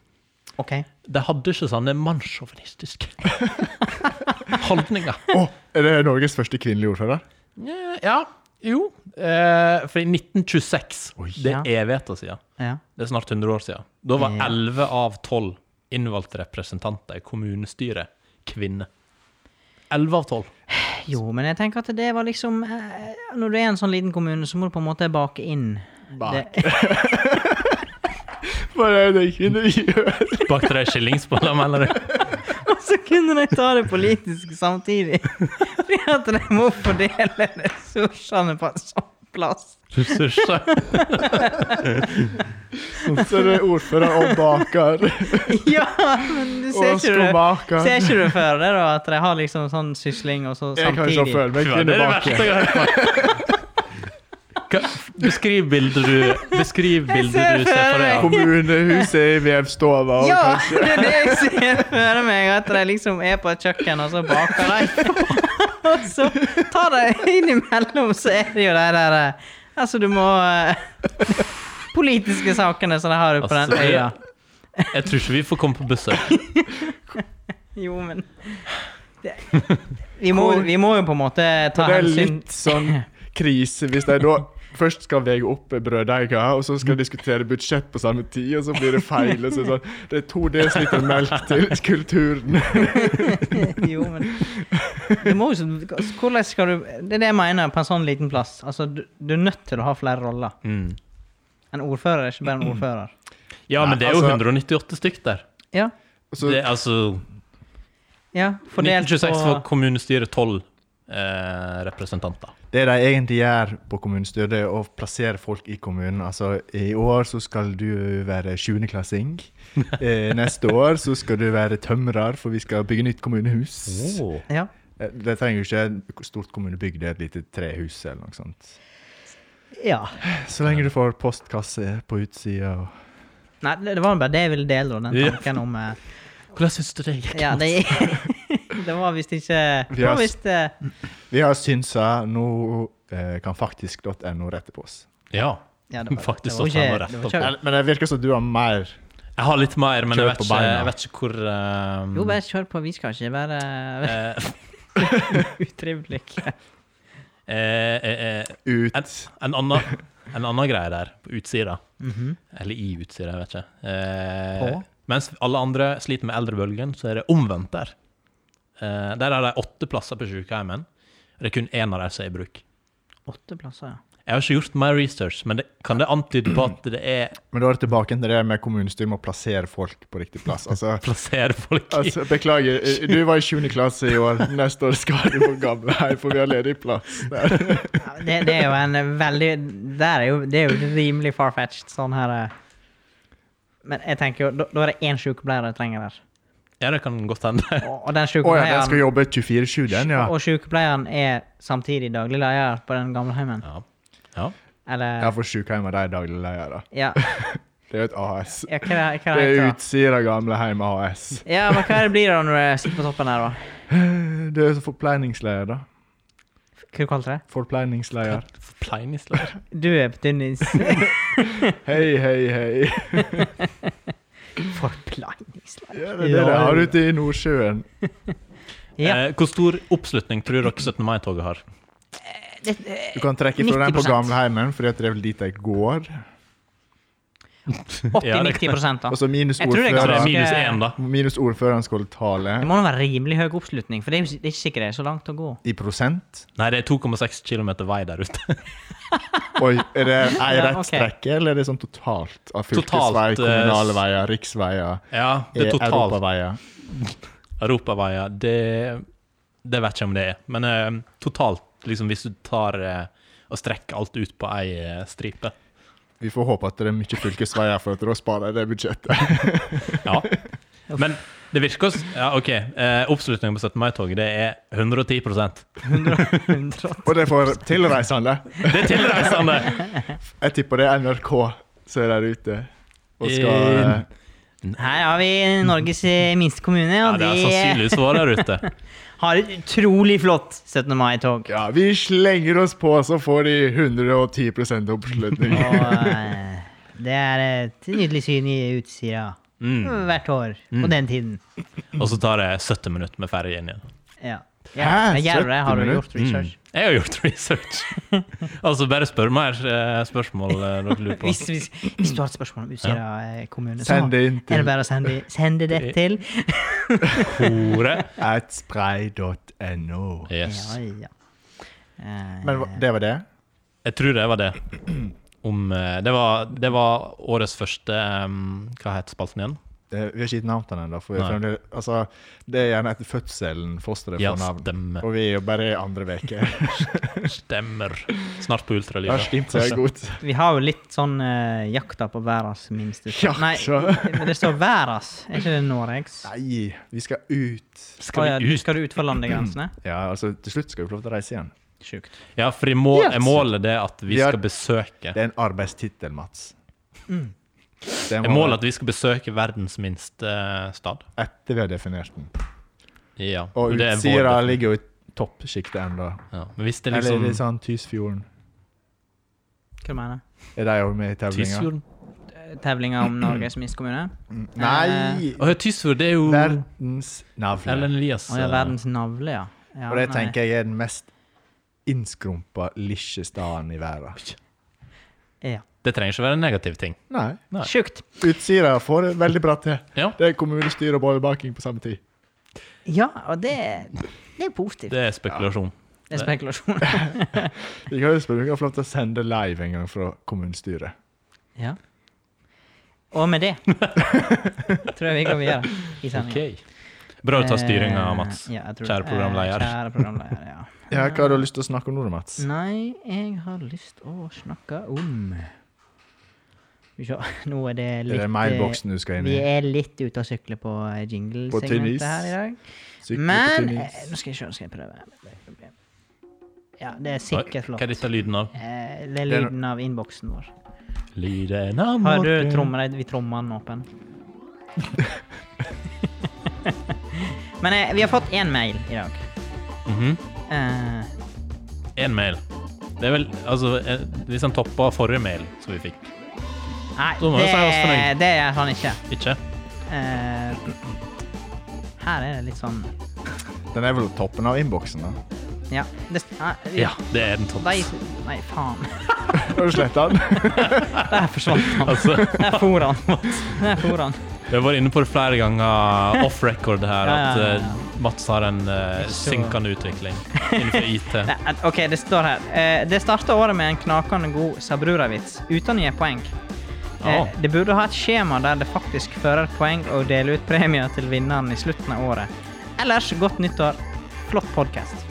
Speaker 3: OK.
Speaker 1: De hadde ikke sånne mannssjåvinistiske [laughs] holdninger.
Speaker 2: Å, er det Norges første kvinnelige ordfører?
Speaker 1: Nja, Ja, jo. Eh, for i 1926,
Speaker 2: Oi.
Speaker 1: det er evigheter siden.
Speaker 3: Ja.
Speaker 1: Det er snart 100 år siden. Da var
Speaker 3: Ja.
Speaker 1: 11 av 12 innvalgte representanter i kommunestyret kvinner. 11 av 12.
Speaker 3: Jo, men jeg tenker at det var liksom eh, Når du er en sånn liten kommune, så må du på en måte bake inn
Speaker 1: Ah,
Speaker 2: Bak.
Speaker 3: [laughs] Det,
Speaker 2: Hva er det kvinner gjør?
Speaker 1: Bakte de skillingsboller, mener du?
Speaker 3: og så kunne de ta det politisk samtidig.
Speaker 1: [laughs]
Speaker 3: Fordi at de må fordele ressursene på en sånn plass.
Speaker 1: [laughs]
Speaker 3: [laughs]
Speaker 1: Ressurser.
Speaker 2: Sånn, Så er det ordfører og
Speaker 3: [laughs]
Speaker 2: baker.
Speaker 3: Ja, men du ser
Speaker 2: Og
Speaker 3: ikke det.
Speaker 2: skomaker.
Speaker 3: Ser ikke du for deg da at de har liksom sånn sysling og så
Speaker 2: Jeg kan ikke
Speaker 3: samtidig?
Speaker 2: føle meg
Speaker 1: Ja, det er det verste
Speaker 2: kvinnebaker.
Speaker 1: jeg har hørt. Hva- Beskriv bildet du Beskriv
Speaker 3: Jeg
Speaker 1: bildet
Speaker 3: ser
Speaker 1: du ser
Speaker 3: for
Speaker 1: for deg.
Speaker 3: meg.
Speaker 2: Kommunehuset i vevstova. og
Speaker 3: Ja,
Speaker 2: kanskje-
Speaker 3: det er det jeg ser for meg. At de liksom er på et kjøkken, og så baker de. [laughs] Og så tar de innimellom, så er det jo de der eh, Altså, du må eh, [laughs] Politiske sakene som de har jo på den
Speaker 1: Altså,
Speaker 3: øya.
Speaker 1: Jeg tror ikke vi får komme på besøk.
Speaker 3: Jo, men det, vi, må, vi må jo på en måte ta
Speaker 2: Det er
Speaker 3: hensyn
Speaker 2: litt sånn krise hvis de da først skal veie opp brøddeiga, og så skal
Speaker 3: Mm.
Speaker 2: diskutere budsjett på samme tid, og så blir det feil. Og så, er det sånn, det er to desiliter melk til kulturen.
Speaker 3: [laughs] [laughs] jo, men du må jo så- Hvordan skal du Det er det jeg mener på en sånn liten plass. Altså, du, du er nødt til å ha flere roller.
Speaker 1: Mm.
Speaker 3: En ordfører er ikke
Speaker 2: [clears throat]
Speaker 3: bare en ordfører.
Speaker 1: Ja, men det er jo
Speaker 2: Altså-
Speaker 1: 198 stykk der.
Speaker 3: Ja.
Speaker 2: Så,
Speaker 1: Det er altså
Speaker 3: ja fordelt
Speaker 1: 1926
Speaker 3: på
Speaker 1: for kommunestyret 12 eh, representanter.
Speaker 2: Det de egentlig gjør på kommunestyret, er å plassere folk i kommunen. Altså, I år så skal du være sjuendeklassing. [laughs] Eh, neste år så skal du være tømrer, for vi skal bygge nytt kommunehus.
Speaker 3: Ja.
Speaker 2: Eh, Det trenger jo ikke et stort kommunebygg, det er et lite trehus eller noe sånt.
Speaker 3: ja.
Speaker 2: Så lenge du får postkasse på utsida og
Speaker 3: Nei, det det var bare det jeg ville dele,
Speaker 1: Ja.
Speaker 3: da, den tanken om eh,
Speaker 1: Hvordan syns du det gikk?
Speaker 3: Ja, det, [laughs] det var visst ikke Det var visst eh,
Speaker 2: Mm. Vi har synsa, nå eh, kan faktisk.no rette på oss.
Speaker 1: Ja.
Speaker 3: ja, det var,
Speaker 1: Faktisk
Speaker 3: det var
Speaker 1: at han var
Speaker 3: ikke-
Speaker 1: rett
Speaker 3: det var
Speaker 1: opp.
Speaker 3: ikke-
Speaker 2: Men men det virker som du har mer
Speaker 1: Jeg har litt mer, men jeg
Speaker 2: Kjør
Speaker 1: vet
Speaker 2: på
Speaker 1: ikke,
Speaker 2: beina.
Speaker 1: jeg vet ikke hvor eh,
Speaker 3: Jo, bare kjør på. Vi skal ikke være [laughs]
Speaker 1: eh,
Speaker 3: utrivelige.
Speaker 1: eh, eh, eh,
Speaker 2: ut.
Speaker 1: En, en, annen, en annen greie der, på utsida, eller i utsida, jeg vet ikke eh,
Speaker 2: På?
Speaker 1: Mens alle andre sliter med eldrebølgen, så er det omvendt der. Eh, der er det åtte plasser på sykehjemmen. Det er kun én av dem som er i bruk.
Speaker 3: Åtte plasser, ja.
Speaker 1: Jeg har ikke gjort mer research, men det, kan det antyde på at det er
Speaker 2: Men da er det tilbake til det med kommunestyret med å plassere folk på riktig [laughs] plass. Altså,
Speaker 1: plassere folk i
Speaker 2: Altså, beklager, eh, du var i 20. klasse i år. Neste år skal du på gamlehei, for vi har ledig plass. [laughs] Der.
Speaker 3: Ja, Det, det er jo en veldig der er jo, Det er jo rimelig far-fetched, sånn her eh. Men jeg tenker jo, da, da er det én sykepleier jeg trenger
Speaker 2: [laughs]
Speaker 3: der.
Speaker 1: Ja, det kan godt hende. [laughs]
Speaker 3: Og, og
Speaker 2: Å
Speaker 3: den
Speaker 2: ja, den skal
Speaker 3: sykepleieren
Speaker 2: jobbe 24-7, den, ja.
Speaker 3: Og sykepleieren er samtidig daglig leder på den gamleheimen.
Speaker 1: Ja. ja.
Speaker 2: Ja,
Speaker 3: Eller
Speaker 2: for sykehjem er de daglig leier, da.
Speaker 3: Ja,
Speaker 2: Det er jo et AS.
Speaker 3: ja hva, er det- hva
Speaker 2: Det er
Speaker 3: er det heter det?
Speaker 2: Utsira gamleheim AS.
Speaker 3: Ja, men hva er det blir det når du sitter på toppen der, da?
Speaker 2: Det er forpleiningsleier, da.
Speaker 3: Hva kalte du det?
Speaker 2: [laughs] Forpleiningsleier.
Speaker 1: Forpleiningslærer.
Speaker 3: Du er på tynn [laughs] is.
Speaker 2: Hei, hei, hei.
Speaker 3: Forpleiningslag.
Speaker 2: Ja, det er det de har ute i Nordsjøen.
Speaker 3: Ja,
Speaker 1: Eh, hvor stor oppslutning tror dere 17. mai-toget har?
Speaker 3: det, eh,
Speaker 2: Du kan trekke fra den på
Speaker 3: 90%.
Speaker 2: gamleheimen, fordi at det er vel dit de går.
Speaker 3: 80-90 da.
Speaker 2: Og
Speaker 1: Altså-
Speaker 2: så minus
Speaker 3: Jeg tror det
Speaker 1: Så
Speaker 3: er
Speaker 1: det er
Speaker 2: ordføreren.
Speaker 1: minus én, da.
Speaker 2: Altså, Minus ordføreren skal tale
Speaker 3: Det må da være rimelig høy oppslutning, for det er jo det er ikke sikkert det er så langt å gå.
Speaker 2: i prosent.
Speaker 1: Nei, det er 2,6 km vei der ute.
Speaker 2: Oi, er det
Speaker 3: [laughs]
Speaker 2: ei
Speaker 3: Ja,
Speaker 2: rett
Speaker 3: ok.
Speaker 2: strekke, eller er det sånn totalt? Av fylkesvei,
Speaker 1: Totalt, eh,
Speaker 2: kommunale veier, riksveier,
Speaker 1: Ja, det er
Speaker 2: eh,
Speaker 1: totalt
Speaker 2: europaveier?
Speaker 1: Europaveier, det, det vet jeg ikke om det er. Men eh, totalt, liksom, hvis du tar eh, og strekker alt ut på ei eh, stripe
Speaker 2: Vi får håpe at det er mye fylkesveier, for at da sparer jeg det budsjettet.
Speaker 1: Ja.
Speaker 3: [laughs]
Speaker 1: Men det virker s- Ja, OK. Eh, oppslutningen på 17. mai-toget, det er 110 Det
Speaker 3: 100,
Speaker 2: Og det er for tilreisende.
Speaker 1: er tilreisende!
Speaker 3: [laughs]
Speaker 2: Jeg tipper det er NRK som er der ute. Og skal eh,
Speaker 3: Her har vi Norges eh, minste kommune,
Speaker 1: Ja,
Speaker 3: og
Speaker 1: det har
Speaker 3: de eh,
Speaker 1: sannsynligvis vært der ute.
Speaker 3: har et utrolig flott 17. mai-tog.
Speaker 2: Ja, vi slenger oss på, så får de 110 oppslutning.
Speaker 3: Og eh, det er et nydelig syn i Utsira
Speaker 1: Mm.
Speaker 3: hvert år på den tiden.
Speaker 1: Og så tar det 70 minutter med ferjen igjen.
Speaker 3: Ja.
Speaker 2: Hæ?
Speaker 3: Ja, men gjør du det? Har du
Speaker 2: 70
Speaker 3: gjort research?
Speaker 1: Jeg har gjort
Speaker 3: [laughs]
Speaker 1: research. altså, bare spør mer eh, spørsmål eh, dere lurer på.
Speaker 3: Hvis, hvis, hvis du har et spørsmål om Utsira eh, kommune, så
Speaker 2: Send
Speaker 3: er
Speaker 2: det inn
Speaker 3: det
Speaker 2: til
Speaker 3: bare å sende, sende
Speaker 2: [laughs]
Speaker 3: det til
Speaker 1: Hore.
Speaker 2: atspray.no.
Speaker 1: Yes.
Speaker 3: Ja, ja. Eh,
Speaker 2: Men hva- det var det?
Speaker 1: Jeg tror det var det. Om, eh, det, var, det var årets første eh, Hva het spalten igjen?
Speaker 2: Eh, Vi har ikke gitt navn til den ennå. for vi
Speaker 1: Nei.
Speaker 2: fremdeles- Altså, det er gjerne etter fødselen fosteret
Speaker 1: Ja,
Speaker 2: får navn.
Speaker 1: stemmer.
Speaker 2: Og vi er jo bare i andre
Speaker 1: [laughs]
Speaker 2: uke.
Speaker 1: Stemmer. Snart på
Speaker 2: Det har
Speaker 1: ultralyden.
Speaker 2: stimt seg godt.
Speaker 3: Vi har jo litt sånn eh, jakta på verdens minste
Speaker 2: Ja,
Speaker 3: Nei,
Speaker 2: så-
Speaker 3: [laughs] men det står verdens, er ikke det Noregs?
Speaker 2: Nei, vi skal ut.
Speaker 1: Skal
Speaker 3: Å ja,
Speaker 1: vi ut?
Speaker 3: Skal du ut for landegrensene?
Speaker 2: [clears throat] Ja, altså Til slutt skal vi få lov til å reise igjen.
Speaker 3: Sjukt.
Speaker 1: Ja, for i må,
Speaker 2: Yes.
Speaker 1: er målet det at vi
Speaker 2: Vi har-
Speaker 1: skal besøke
Speaker 2: Det er en arbeidstittel, Mats. Mm. Det
Speaker 1: Er
Speaker 2: må-
Speaker 1: målet at vi skal besøke verdens minste eh, stad?
Speaker 2: Etter vi har definert den.
Speaker 1: Ja.
Speaker 2: Og
Speaker 1: det er vår-
Speaker 2: Utsira ligger jo i toppsjiktet ennå.
Speaker 1: ja. Men hvis det er
Speaker 2: Eller
Speaker 1: liksom
Speaker 2: litt sånn Tysfjorden.
Speaker 3: Hva du mener du?
Speaker 2: Er de òg med i tevlinga?
Speaker 1: Tysfjorden?
Speaker 3: Tevlinga om Norges minste
Speaker 2: [clears throat]
Speaker 3: kommune?
Speaker 2: Nei!
Speaker 1: Å ja, Tysfjord, det er jo
Speaker 2: Verdens navle.
Speaker 1: Ellen Elias.
Speaker 3: Å ja,
Speaker 1: eh,
Speaker 3: verdens navle, ja. ja
Speaker 2: Og det
Speaker 3: nei.
Speaker 2: tenker jeg er den mest innskrumpa lille staden i verden.
Speaker 3: Ja.
Speaker 1: Det trenger ikke være en negativ ting.
Speaker 2: Nei.
Speaker 1: Nei.
Speaker 3: Sjukt.
Speaker 2: Utsira får det veldig bra til.
Speaker 1: Ja,
Speaker 2: Det er kommunestyre og bollebaking på samme tid.
Speaker 3: Ja, og det, det er positivt.
Speaker 1: det er spekulasjon.
Speaker 3: Det er spekulasjon.
Speaker 2: Jeg kan jo spørre om jeg kan få lov til å sende live en gang fra kommunestyret.
Speaker 3: Ja. Og
Speaker 1: [laughs]
Speaker 3: med det tror jeg vi går videre i sendingen.
Speaker 1: Ok. Bra du tar styringa, Mats.
Speaker 3: Eh, ja, jeg tror
Speaker 1: Kjære
Speaker 3: det.
Speaker 1: programleder.
Speaker 3: Eh, Kjære programleder,
Speaker 1: [laughs]
Speaker 3: ja.
Speaker 2: Ja, hva har du lyst til å snakke om nå, da, Mats?
Speaker 3: Nei, jeg har lyst å snakke om Skal vi se, [laughs] nå er det
Speaker 2: Det
Speaker 3: litt eh,
Speaker 2: er mailboksen du skal inn
Speaker 3: Vi
Speaker 2: i.
Speaker 3: er litt ute å sykle på eh,
Speaker 2: På tynn is.
Speaker 3: jingle-segmentet her i dag.
Speaker 2: Sykle på
Speaker 3: Men
Speaker 2: tynn
Speaker 3: eh,
Speaker 2: is.
Speaker 3: nå skal jeg se, nå skal jeg prøve. Ja, det er
Speaker 1: Hva
Speaker 3: sikkert
Speaker 1: hva
Speaker 3: flott.
Speaker 1: er dette lyden av?
Speaker 3: Eh, Det er lyden av innboksen vår.
Speaker 1: Lyden av
Speaker 3: Har du
Speaker 1: Morten.
Speaker 3: trommer, vi trommer den
Speaker 1: [laughs]
Speaker 3: åpen? Men eh, vi har fått én mail i dag.
Speaker 1: Mhm.
Speaker 3: Eh,
Speaker 1: En mail. Det er vel Altså, eh, hvis han toppa forrige mail som vi fikk,
Speaker 3: nei,
Speaker 1: Da må vi si oss
Speaker 3: det,
Speaker 1: fornøyd.
Speaker 3: det gjør han ikke.
Speaker 1: ikke?
Speaker 3: Eh, her er det litt sånn
Speaker 2: Den er vel toppen av innboksen, da. [laughs]
Speaker 3: Ja. Det, nei, vi-
Speaker 1: Ja, det er den
Speaker 3: de,
Speaker 1: topps.
Speaker 3: nei, faen.
Speaker 2: Har du sletta den? [laughs]
Speaker 3: Der forsvant han.
Speaker 1: Altså,
Speaker 3: Der for han. Der for han.
Speaker 1: Vi har vært inne på det flere ganger off record her,
Speaker 3: Ja,
Speaker 1: at
Speaker 3: ja, ja,
Speaker 1: eh, Mats har en eh,
Speaker 3: så-
Speaker 1: synkende utvikling
Speaker 3: [laughs]
Speaker 1: innenfor IT.
Speaker 3: Nei, at- OK, det står her. Eh, det starta året med en knakende god Sabrura-vits uten å gi poeng. Eh,
Speaker 1: Ja.
Speaker 3: det burde ha et skjema der det faktisk fører poeng og deler ut premier til vinneren i slutten av året. Ellers, godt nyttår. Flott podkast.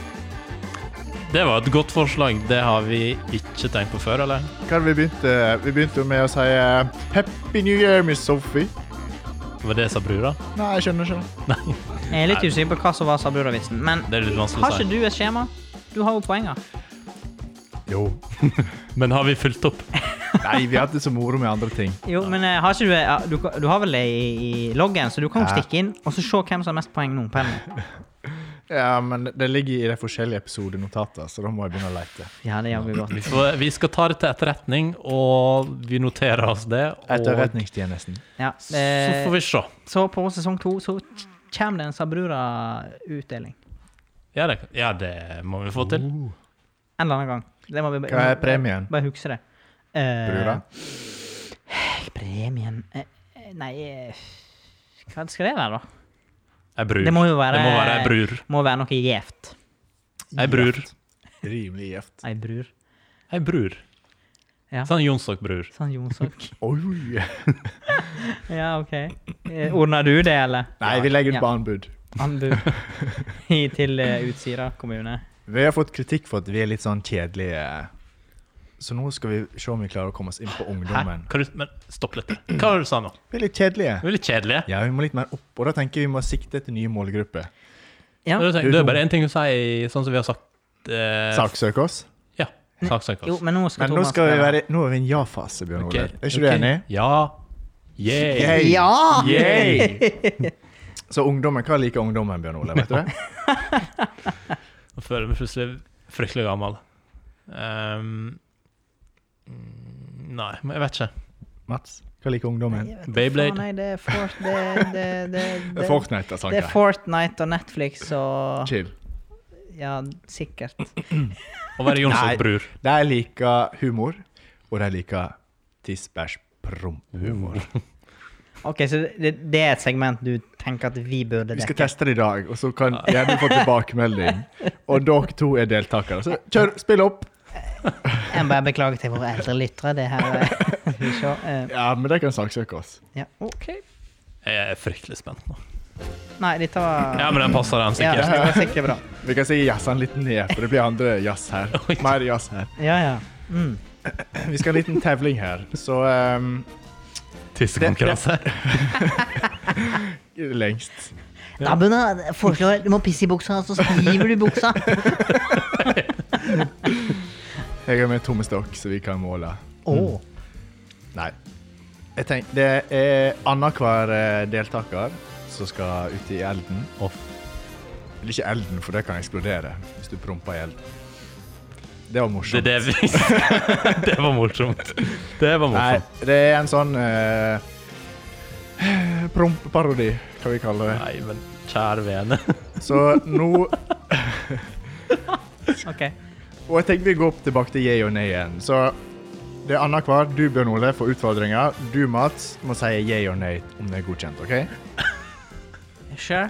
Speaker 1: Det var et godt forslag. Det har vi ikke tenkt på før, eller?
Speaker 2: Hva har vi begynte Vi begynte jo med å si eh, 'Happy New Year, Miss Sophie'.
Speaker 1: Var det sa brura?
Speaker 2: Nei, jeg skjønner ikke.
Speaker 3: Jeg er litt usikker på hva som var Sabrura-vitsen, men
Speaker 1: Det er litt vanskelig
Speaker 3: har
Speaker 1: å si.
Speaker 3: ikke du et skjema? Du har jo poenger.
Speaker 2: Jo.
Speaker 1: Men har vi fulgt opp?
Speaker 2: Nei, vi hadde så moro med andre ting.
Speaker 3: Jo, men eh, har ikke du, eh, du, kan- du har vel det i, i loggen, så du kan jo
Speaker 2: Ja.
Speaker 3: stikke inn og så se hvem som har mest poeng nå. på
Speaker 1: [laughs]
Speaker 3: en-
Speaker 2: Ja, men det ligger i de forskjellige episodenotatene, så da må jeg begynne å lete.
Speaker 3: Ja, det gjør vi godt.
Speaker 1: Vi, får, vi skal ta det til etterretning, og vi noterer oss det. Og
Speaker 2: Etterretningstjenesten.
Speaker 3: Ja,
Speaker 1: så
Speaker 3: eh,
Speaker 1: får vi se.
Speaker 3: så på sesong to så kommer det en Sabrura-utdeling.
Speaker 1: Ja, det, ja, det må vi få til.
Speaker 3: En eller annen gang. Det må vi bare-
Speaker 2: Hva er premien?
Speaker 3: Bare huske det. Eh,
Speaker 2: Brura?
Speaker 3: Premien eh, eh, Nei eh, Hva skal det være, da?
Speaker 1: Ei brur.
Speaker 3: Det må jo være-
Speaker 1: Det må være ei brur.
Speaker 3: Må være noe gjevt.
Speaker 1: Ei brur.
Speaker 2: Rimelig gjevt.
Speaker 3: Ei brur.
Speaker 1: Ei brur.
Speaker 3: Ja.
Speaker 1: Sånn Jonsok-brur.
Speaker 3: Sånn Jonsok.
Speaker 2: Oi!
Speaker 3: [laughs] ja, OK. Eh, Ordner du det, eller?
Speaker 2: Nei, vi legger
Speaker 3: Ja.
Speaker 2: ut på anbud. [laughs]
Speaker 3: Anbud i, til eh, Utsira kommune.
Speaker 2: Vi har fått kritikk for at vi er litt sånn kjedelige. Så nå skal vi se om vi klarer å komme oss inn på
Speaker 1: Hæ?
Speaker 2: ungdommen.
Speaker 1: Hva du, men stopp litt. Hva var det du sa nå?
Speaker 2: Vi er litt kjedelige.
Speaker 1: Det er litt kjedelig.
Speaker 2: Ja, vi må litt mer opp, og da tenker jeg vi må sikte etter nye målgrupper.
Speaker 1: Det
Speaker 3: Ja.
Speaker 1: er jo sånn-
Speaker 2: Du-
Speaker 1: det er bare én ting å si, sånn som vi har sagt eh,
Speaker 2: Saksøk oss.
Speaker 1: Ja. Saksøk.
Speaker 3: Jo, men nå skal
Speaker 2: Men nå
Speaker 3: Thomas
Speaker 2: skal vi
Speaker 3: være-
Speaker 2: være Nå er vi i en ja-fase, Bjørn
Speaker 1: Ok,
Speaker 2: Olav. Er ikke du
Speaker 1: ok.
Speaker 2: enig?
Speaker 1: Ja. Yeah.
Speaker 2: Yay.
Speaker 3: Ja!
Speaker 1: Yay!
Speaker 2: [laughs] Så ungdommen, hva liker ungdommen, Bjørn Olav? Vet du det?
Speaker 1: Nå føler jeg meg plutselig fryktelig gammel. Ehm, mm, nei, men jeg vet ikke.
Speaker 2: Mats, hva liker ungdommen?
Speaker 1: Beyblade.
Speaker 3: Faen, Nei, det er Fort... Det, det, det, det,
Speaker 2: Fortnite,
Speaker 3: det er
Speaker 2: sanker.
Speaker 3: Fortnite og Netflix og
Speaker 2: Chill.
Speaker 3: Ja, sikkert.
Speaker 1: Å
Speaker 2: [laughs]
Speaker 1: være
Speaker 2: Nei.
Speaker 1: Jonsok Brur.
Speaker 2: De liker humor, og de liker tiss, bæsj, promp-humor.
Speaker 3: Ok, så det, det er et segment du tenker at vi burde
Speaker 2: Vi skal
Speaker 3: dekke?
Speaker 2: teste det i dag, og så kan gjerne få tilbakemelding. Og dere to er deltakere. Så kjør, spill opp!
Speaker 3: Jeg må bare beklage til våre eldre lyttere. Det her er- [laughs] Skal vi se. eh,
Speaker 2: Ja, men de kan saksøke oss.
Speaker 3: Ja, OK.
Speaker 1: Jeg er fryktelig spent nå.
Speaker 3: Nei, dette var
Speaker 1: Ja, men den passer, den
Speaker 3: Ja,
Speaker 1: sikkert.
Speaker 3: det
Speaker 1: [laughs]
Speaker 3: var sikkert bra.
Speaker 2: Vi kan sikkert jazze den litt ned, for det blir andre jazz her. Mer jazz her.
Speaker 3: Ja, ja. Mm.
Speaker 2: Vi skal ha en liten tevling her, så ehm,
Speaker 1: Tissekonkurranse.
Speaker 2: Lengst.
Speaker 1: Ja.
Speaker 4: Abben eh, foreslår du må pisse i buksa, så skriver du i
Speaker 2: [laughs]
Speaker 4: buksa.
Speaker 2: Jeg har med tommestokk, så vi kan måle.
Speaker 3: Åh.
Speaker 2: Mm. Nei. Jeg tenker, Det er annenhver eh, deltaker som skal ut i elden.
Speaker 1: Off.
Speaker 2: Eller ikke elden, for det kan eksplodere hvis du promper i elden. Det var
Speaker 1: Det,
Speaker 2: morsomt.
Speaker 1: det, vi- [laughs] det var morsomt. Det var
Speaker 2: Nei,
Speaker 1: morsomt.
Speaker 2: det er en sånn uh, prompeparodi, kan vi kalle det.
Speaker 1: Nei, men kjære vene. [laughs]
Speaker 2: Så nå
Speaker 3: OK.
Speaker 2: Og jeg tenker vi går opp tilbake til yay og nei igjen. Så Det er annenhver. Du, Bjørn Ole, får utfordringer. Du, Mats, må si yeah or nay om det er godkjent. ok?
Speaker 3: Sure.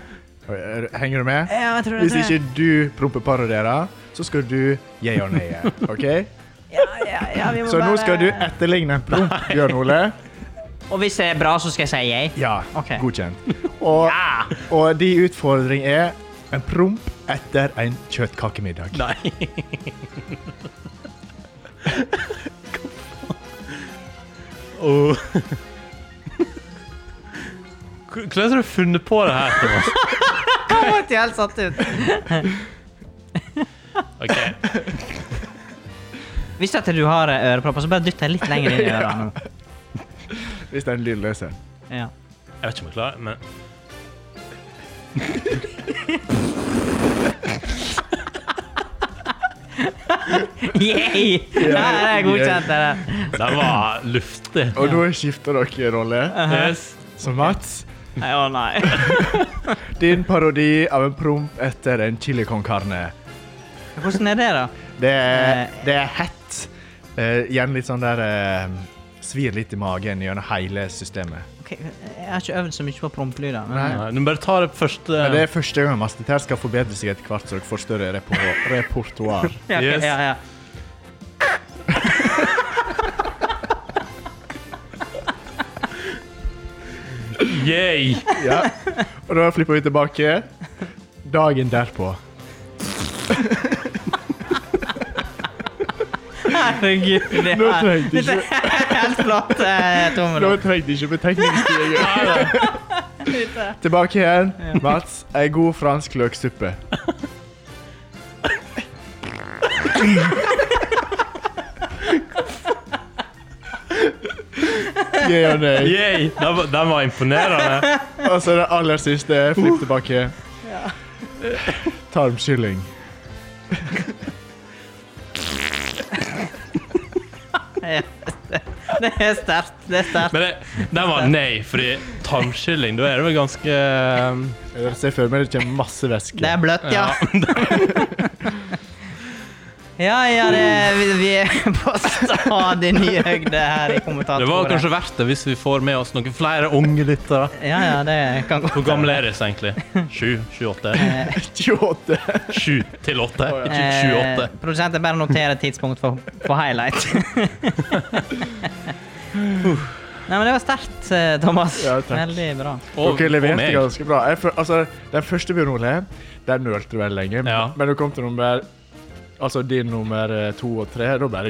Speaker 2: Henger du med?
Speaker 3: Ja, jeg tror det.
Speaker 2: Hvis ikke du prompeparoderer, så skal du yeah or nay.
Speaker 3: [laughs]
Speaker 2: ok?
Speaker 3: ja, ja, ja, vi må
Speaker 2: Så nå
Speaker 3: bare-
Speaker 2: skal du etterligne en promp, Bjørn Ole.
Speaker 3: Og hvis det er bra, så skal jeg si jeg.
Speaker 2: Ja,
Speaker 3: Ok.
Speaker 2: godkjent. Og,
Speaker 3: Ah,
Speaker 2: og din utfordring er en promp etter en kjøttkakemiddag.
Speaker 1: Nei. Åh. Hvor- Hvordan har du funnet på det her, Thomas?
Speaker 3: jeg ble jo helt satt ut.
Speaker 1: Ok,
Speaker 3: Hvis at du har eh, ørepropper, så bare dytt deg litt lenger
Speaker 2: [laughs]
Speaker 3: inn i ørene.
Speaker 2: Hvis det er en lydløser.
Speaker 3: Ja.
Speaker 1: Jeg vet ikke om jeg klarer men
Speaker 3: [laughs] Yay! Ja, det er godkjent, det der.
Speaker 1: den var luftig.
Speaker 2: Og nå skifter dere rolle.
Speaker 1: Yes.
Speaker 2: Så Mats,
Speaker 3: Nei, Å nei.
Speaker 2: din parodi av en promp etter en chili con carne.
Speaker 3: Hvordan er det, da?
Speaker 2: Det er, det er hett. Eh, igjen litt sånn der eh, Svir litt i magen gjennom hele systemet.
Speaker 3: Ok, jeg har ikke øvd så mye på prompelyder. men-
Speaker 2: Nei.
Speaker 1: Nei, Du må bare ta det
Speaker 2: Men det
Speaker 1: første
Speaker 2: er første gang Mastitær skal forbedre seg etter hvert, så dere får større repo repertoar.
Speaker 3: [laughs] Ja, ok,
Speaker 1: Yes.
Speaker 3: ja, ja.
Speaker 1: Yay!
Speaker 2: Ja. Og da flipper vi tilbake dagen derpå.
Speaker 3: Herregud, [laughs] det
Speaker 2: Nå
Speaker 3: her.
Speaker 2: trengte ikke,
Speaker 3: Dette er helt flott, eh, tommel
Speaker 2: nå
Speaker 3: opp.
Speaker 2: trengte ikke betegningsstigen. Tilbake igjen. Mats, ei god fransk løksuppe. Yeah or nay?
Speaker 1: Yay! Den var, den var imponerende.
Speaker 2: Og så det aller siste. Flipp tilbake. Tarmkylling.
Speaker 3: Ja, det- Det er sterkt. Det er sterkt.
Speaker 1: Men det, den var nei, fordi tarmkylling, da er det vel ganske um,
Speaker 2: Jeg ser for meg det kommer masse væske.
Speaker 3: Det
Speaker 2: [laughs]
Speaker 3: er bløtt, ja. [laughs] Ja, ja, det, vi, vi er på stadig nye høyder her i
Speaker 1: Det
Speaker 3: kommentatorbordet.
Speaker 1: var kanskje verdt det hvis vi får med oss noen flere unge lyttere.
Speaker 3: Ja, ja, det kan gå.
Speaker 1: Hvor gamle er dere egentlig? Sju? Sju-åtte?
Speaker 2: 28.
Speaker 1: Sju til åtte? Ikke
Speaker 3: Eh,
Speaker 1: 28.
Speaker 3: produsenten bare noterer tidspunkt for, for highlight. Nei, men det var sterkt, eh, Thomas.
Speaker 2: Ja, takk.
Speaker 3: Veldig bra.
Speaker 1: Og,
Speaker 2: Dere
Speaker 1: og
Speaker 2: leverte
Speaker 1: meg.
Speaker 2: ganske bra. Jeg, føl- altså, den første Bjørn Ole, der nølte du veldig lenge.
Speaker 1: Ja.
Speaker 2: Men du kom til nummer Altså din nummer eh, to og tre. Da bare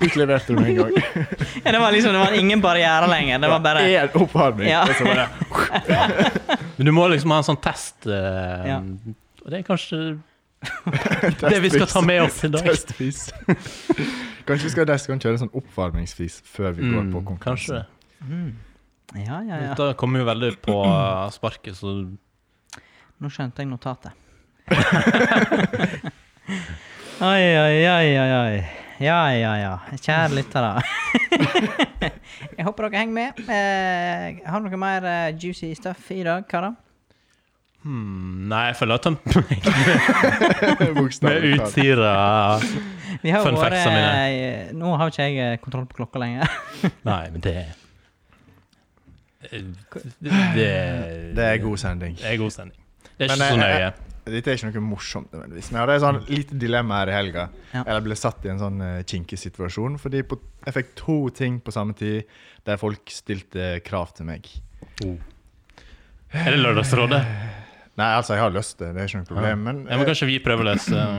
Speaker 2: utleverte du med en
Speaker 1: [laughs]
Speaker 2: gang.
Speaker 3: Ja, det var liksom, det var ingen barriere lenger. Det var bare
Speaker 2: [laughs] Én oppvarming.
Speaker 3: Ja.
Speaker 2: Og så bare
Speaker 1: Men du må liksom ha en sånn test. eh,
Speaker 3: Ja.
Speaker 1: Og det er kanskje det vi skal ta
Speaker 2: [laughs]
Speaker 1: med oss i dag.
Speaker 2: Testfis. [laughs] Kanskje vi skal neste gang kjøre en sånn oppvarmingsfis før vi går
Speaker 1: Mm,
Speaker 2: på
Speaker 1: kanskje.
Speaker 2: konkurransen.
Speaker 3: Ja, ja, ja.
Speaker 1: Dette kommer jo veldig på eh, sparket, så
Speaker 3: Nå skjønte jeg notatet. [laughs] oi, oi, oi, oi, oi. Ja, ja, ja. Kjære lyttere. [laughs] jeg håper dere henger med. Eh, har dere mer eh, juicy stuff i dag, karer?
Speaker 1: hmm, Nei, jeg føler jeg har tømt meg
Speaker 2: [laughs]
Speaker 1: med
Speaker 2: Bokstavelig talt.
Speaker 1: utsida.
Speaker 3: Vi har jo
Speaker 1: Fun
Speaker 3: vært
Speaker 1: facts om
Speaker 3: eh, Nå har ikke jeg eh, kontroll på klokka lenger. [laughs]
Speaker 1: Nei, men det Det,
Speaker 2: Det er god sending.
Speaker 1: Det er god stemning. Det er
Speaker 2: Men
Speaker 1: ikke så
Speaker 2: jeg-
Speaker 1: nøye.
Speaker 2: jeg- Dette er ikke noe morsomt, nødvendigvis. Men jeg hadde et sånn lite dilemma her i helga.
Speaker 3: Ja.
Speaker 2: Eller ble satt i en sånn eh, kinkig situasjon. Fordi på, jeg fikk to ting på samme tid der folk stilte krav til meg.
Speaker 1: Er det Lørdagsrådet?
Speaker 2: Nei, altså, jeg har lyst til det, det er ikke noe
Speaker 1: Ja.
Speaker 2: problem. Men,
Speaker 1: Ja, men
Speaker 2: eh,
Speaker 1: kanskje vi prøver å lese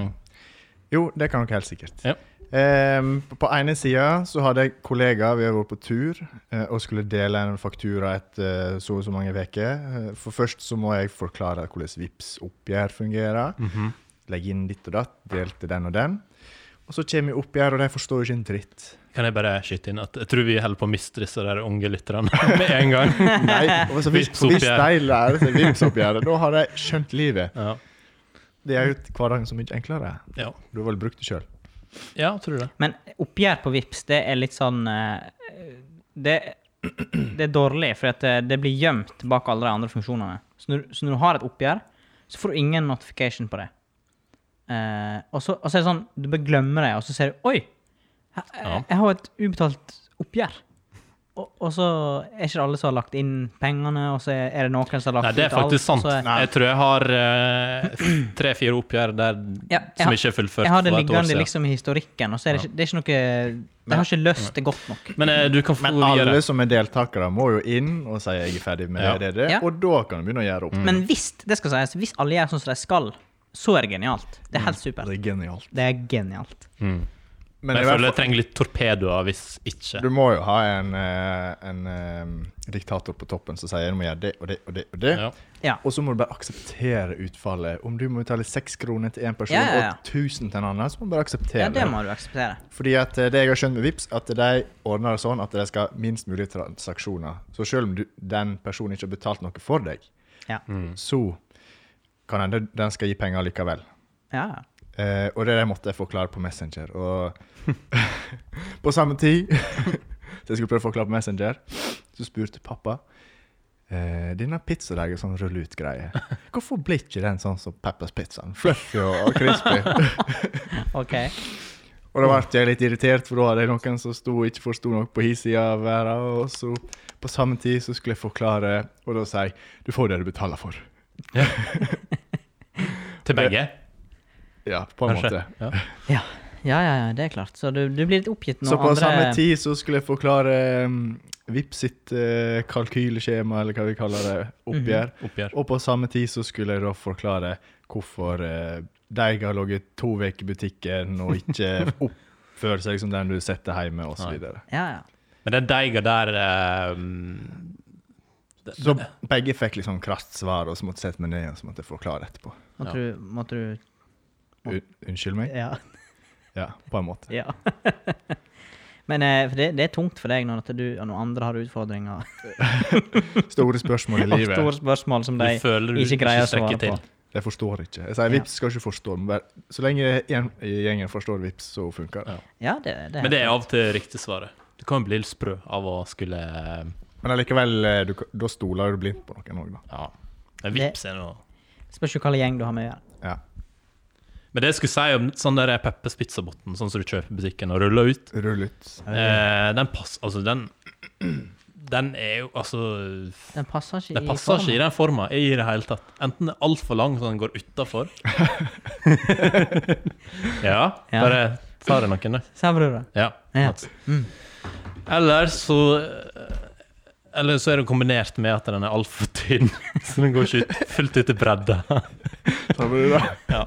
Speaker 2: jo, det kan dere helt sikkert.
Speaker 1: Ja.
Speaker 2: Ehm, på- på ene sida så hadde jeg kollegaer vi hadde vært på tur eh, og skulle dele en faktura etter eh, så og så mange uker. Eh, For først så må jeg forklare hvordan Vipps oppgjør fungerer.
Speaker 1: Mhm.
Speaker 2: Legge inn ditt og datt, delte den og den. Og så kommer jeg oppgjør, og de forstår jo ikke en
Speaker 1: [laughs]
Speaker 2: dritt.
Speaker 1: Kan jeg bare skyte inn at jeg tror vi holder på å miste disse der unge lytterne [laughs] med en gang.
Speaker 2: [laughs] Nei, altså, hvis,
Speaker 1: Vipps
Speaker 2: hvis
Speaker 1: oppgjør.
Speaker 2: de lærer
Speaker 1: [laughs]
Speaker 2: seg Vipps-oppgjøret, da har de skjønt livet.
Speaker 1: Ja,
Speaker 2: Det er jo hverdagen så mye enklere.
Speaker 1: ja.
Speaker 2: Du har vel brukt det sjøl.
Speaker 1: ja tror det.
Speaker 3: Men oppgjør på VIPS, det er litt sånn eh, Det, [clears throat] det er dårlig, for at eh, det, det blir gjemt bak alle de andre funksjonene. Så når, så når du har et oppgjør, så får du ingen notification på det. Eh, og, så, og så er det sånn, du bare glemmer det, og så ser du Oi!
Speaker 1: Ja.
Speaker 3: Jeg, jeg har et ubetalt oppgjør. Og, og så er ikke det alle som har lagt inn pengene, og så er det noen som har lagt
Speaker 1: Nei, det er
Speaker 3: ut alt,
Speaker 1: faktisk sant.
Speaker 3: og så er-
Speaker 1: Jeg tror jeg har eh, tre-fire oppgjør der
Speaker 3: Ja, jeg,
Speaker 1: som
Speaker 3: har-
Speaker 1: ikke er fullført
Speaker 3: jeg har det
Speaker 1: for et år
Speaker 3: liggende
Speaker 1: siden.
Speaker 3: liksom i historikken, og så er det ikke, det er ikke noe Jeg har ikke løst det godt nok.
Speaker 1: Men eh, du kan få
Speaker 2: Men
Speaker 1: videre.
Speaker 2: alle som er deltakere, må jo inn og si 'jeg er ferdig med
Speaker 1: Ja.
Speaker 2: det, det',
Speaker 3: Ja.
Speaker 2: og da kan du begynne å gjøre
Speaker 1: Mm.
Speaker 2: opp.
Speaker 3: Men hvis det skal sies, hvis alle gjør sånn som de skal, så er det genialt. Det er helt
Speaker 2: Det
Speaker 3: supert.
Speaker 2: er genialt.
Speaker 3: Det er genialt.
Speaker 1: Mm.
Speaker 2: Men
Speaker 1: Men
Speaker 2: i
Speaker 1: jeg
Speaker 2: hvert
Speaker 1: føler jeg trenger litt torpedoer hvis ikke.
Speaker 2: Du må jo ha en, eh, en eh, diktator på toppen som sier du må gjøre det og det og det. Og det.
Speaker 1: Ja.
Speaker 3: Ja.
Speaker 2: Og så må du bare akseptere utfallet. Om du må betale seks kroner til én person
Speaker 3: Ja, ja, ja.
Speaker 2: og 1000 til en annen, så må du bare akseptere
Speaker 3: ja, det må du akseptere.
Speaker 2: Fordi at eh, det jeg har skjønt med Vips, at de ordner det sånn at de skal ha minst mulig transaksjoner. Så selv om du, den personen ikke har betalt noe for deg,
Speaker 3: Ja.
Speaker 1: Mm.
Speaker 2: så kan hende den skal gi penger likevel.
Speaker 3: ja.
Speaker 2: Eh, og det der måtte jeg forklare på Messenger. Og [laughs] på samme tid [laughs] Så jeg skulle prøve å forklare på Messenger, så spurte pappa eh, Denne pizzadeigen, sånn rull-ut-greie, hvorfor blir ikke den sånn som Peppers Pizzaen? Fluffy og, og crispy.
Speaker 3: OK.
Speaker 2: og da ble jeg litt irritert, for da hadde jeg noen som sto, og ikke forsto noe på hi side av verden. Og så på samme tid så skulle jeg forklare, og da sier jeg du får det du betaler for.
Speaker 1: Til begge,
Speaker 2: Ja, på en
Speaker 1: kanskje.
Speaker 2: måte.
Speaker 1: Ja.
Speaker 3: Ja. ja, ja, ja, det er klart. Så du, du blir litt oppgitt når
Speaker 2: Så på
Speaker 3: andre
Speaker 2: samme tid så skulle jeg forklare um, Vips sitt eh, kalkylskjema, eller hva vi kaller det,
Speaker 3: Mhm.
Speaker 2: oppgjør.
Speaker 1: [laughs] Oppgjør.
Speaker 2: Og på samme tid så skulle jeg da forklare hvorfor eh, de har ligget to uker i butikken og
Speaker 3: [laughs]
Speaker 2: ikke oppfører seg som den du setter hjemme, og Så, videre.
Speaker 3: Ja, ja.
Speaker 1: Men den deiga der ehm, det-
Speaker 2: så begge fikk liksom krast svar, og så måtte jeg sette meg ned og så måtte jeg forklare etterpå.
Speaker 3: Måtte du, måtte du
Speaker 2: Un unnskyld meg?
Speaker 3: Ja. [laughs]
Speaker 2: Ja, på en måte.
Speaker 3: ja. Men eh, for det, det er tungt for deg når, at du, og når andre har utfordringer
Speaker 2: Store
Speaker 3: [laughs]
Speaker 2: spørsmål i
Speaker 3: og
Speaker 2: livet.
Speaker 3: store spørsmål som
Speaker 1: Du
Speaker 3: de
Speaker 1: føler du
Speaker 3: ikke greier å svare
Speaker 1: strekker
Speaker 3: på.
Speaker 1: til.
Speaker 2: Jeg forstår ikke. Jeg sier
Speaker 3: Ja.
Speaker 2: Vips skal ikke forstå. men bare- Så lenge en i gjengen forstår Vips, så funker det.
Speaker 3: Ja, det, det
Speaker 1: Men det er av og til riktig svaret. Du kan jo bli litt sprø av å skulle eh,
Speaker 2: Men allikevel, eh, du, da stoler du blindt på noen òg, da.
Speaker 1: Ja. Men vips er noe
Speaker 3: Spørs jo hvilken gjeng du har med å gjøre.
Speaker 2: Ja.
Speaker 1: Men det jeg skulle si om sånn der Peppers Pizzabotten, sånn som du kjøper i butikken og ruller ut
Speaker 2: Rull ut. [laughs]
Speaker 1: eh, Den pass... Altså, den [clears throat] Den er jo Altså
Speaker 3: Den passer ikke
Speaker 1: Det passer
Speaker 3: formen.
Speaker 1: ikke i den forma i det hele tatt. Enten det er altfor lang, så den går
Speaker 3: [laughs]
Speaker 1: utafor. [laughs] ja,
Speaker 3: Ja.
Speaker 1: bare ta det noen, da.
Speaker 3: Sa brura.
Speaker 1: Ja.
Speaker 3: Ja.
Speaker 1: Mats. Eller så eh, Eller så er det kombinert med at den er altfor tynn, [laughs] så den går ikke ut, fullt ut i bredda.
Speaker 2: Ta med det, da.
Speaker 1: ja.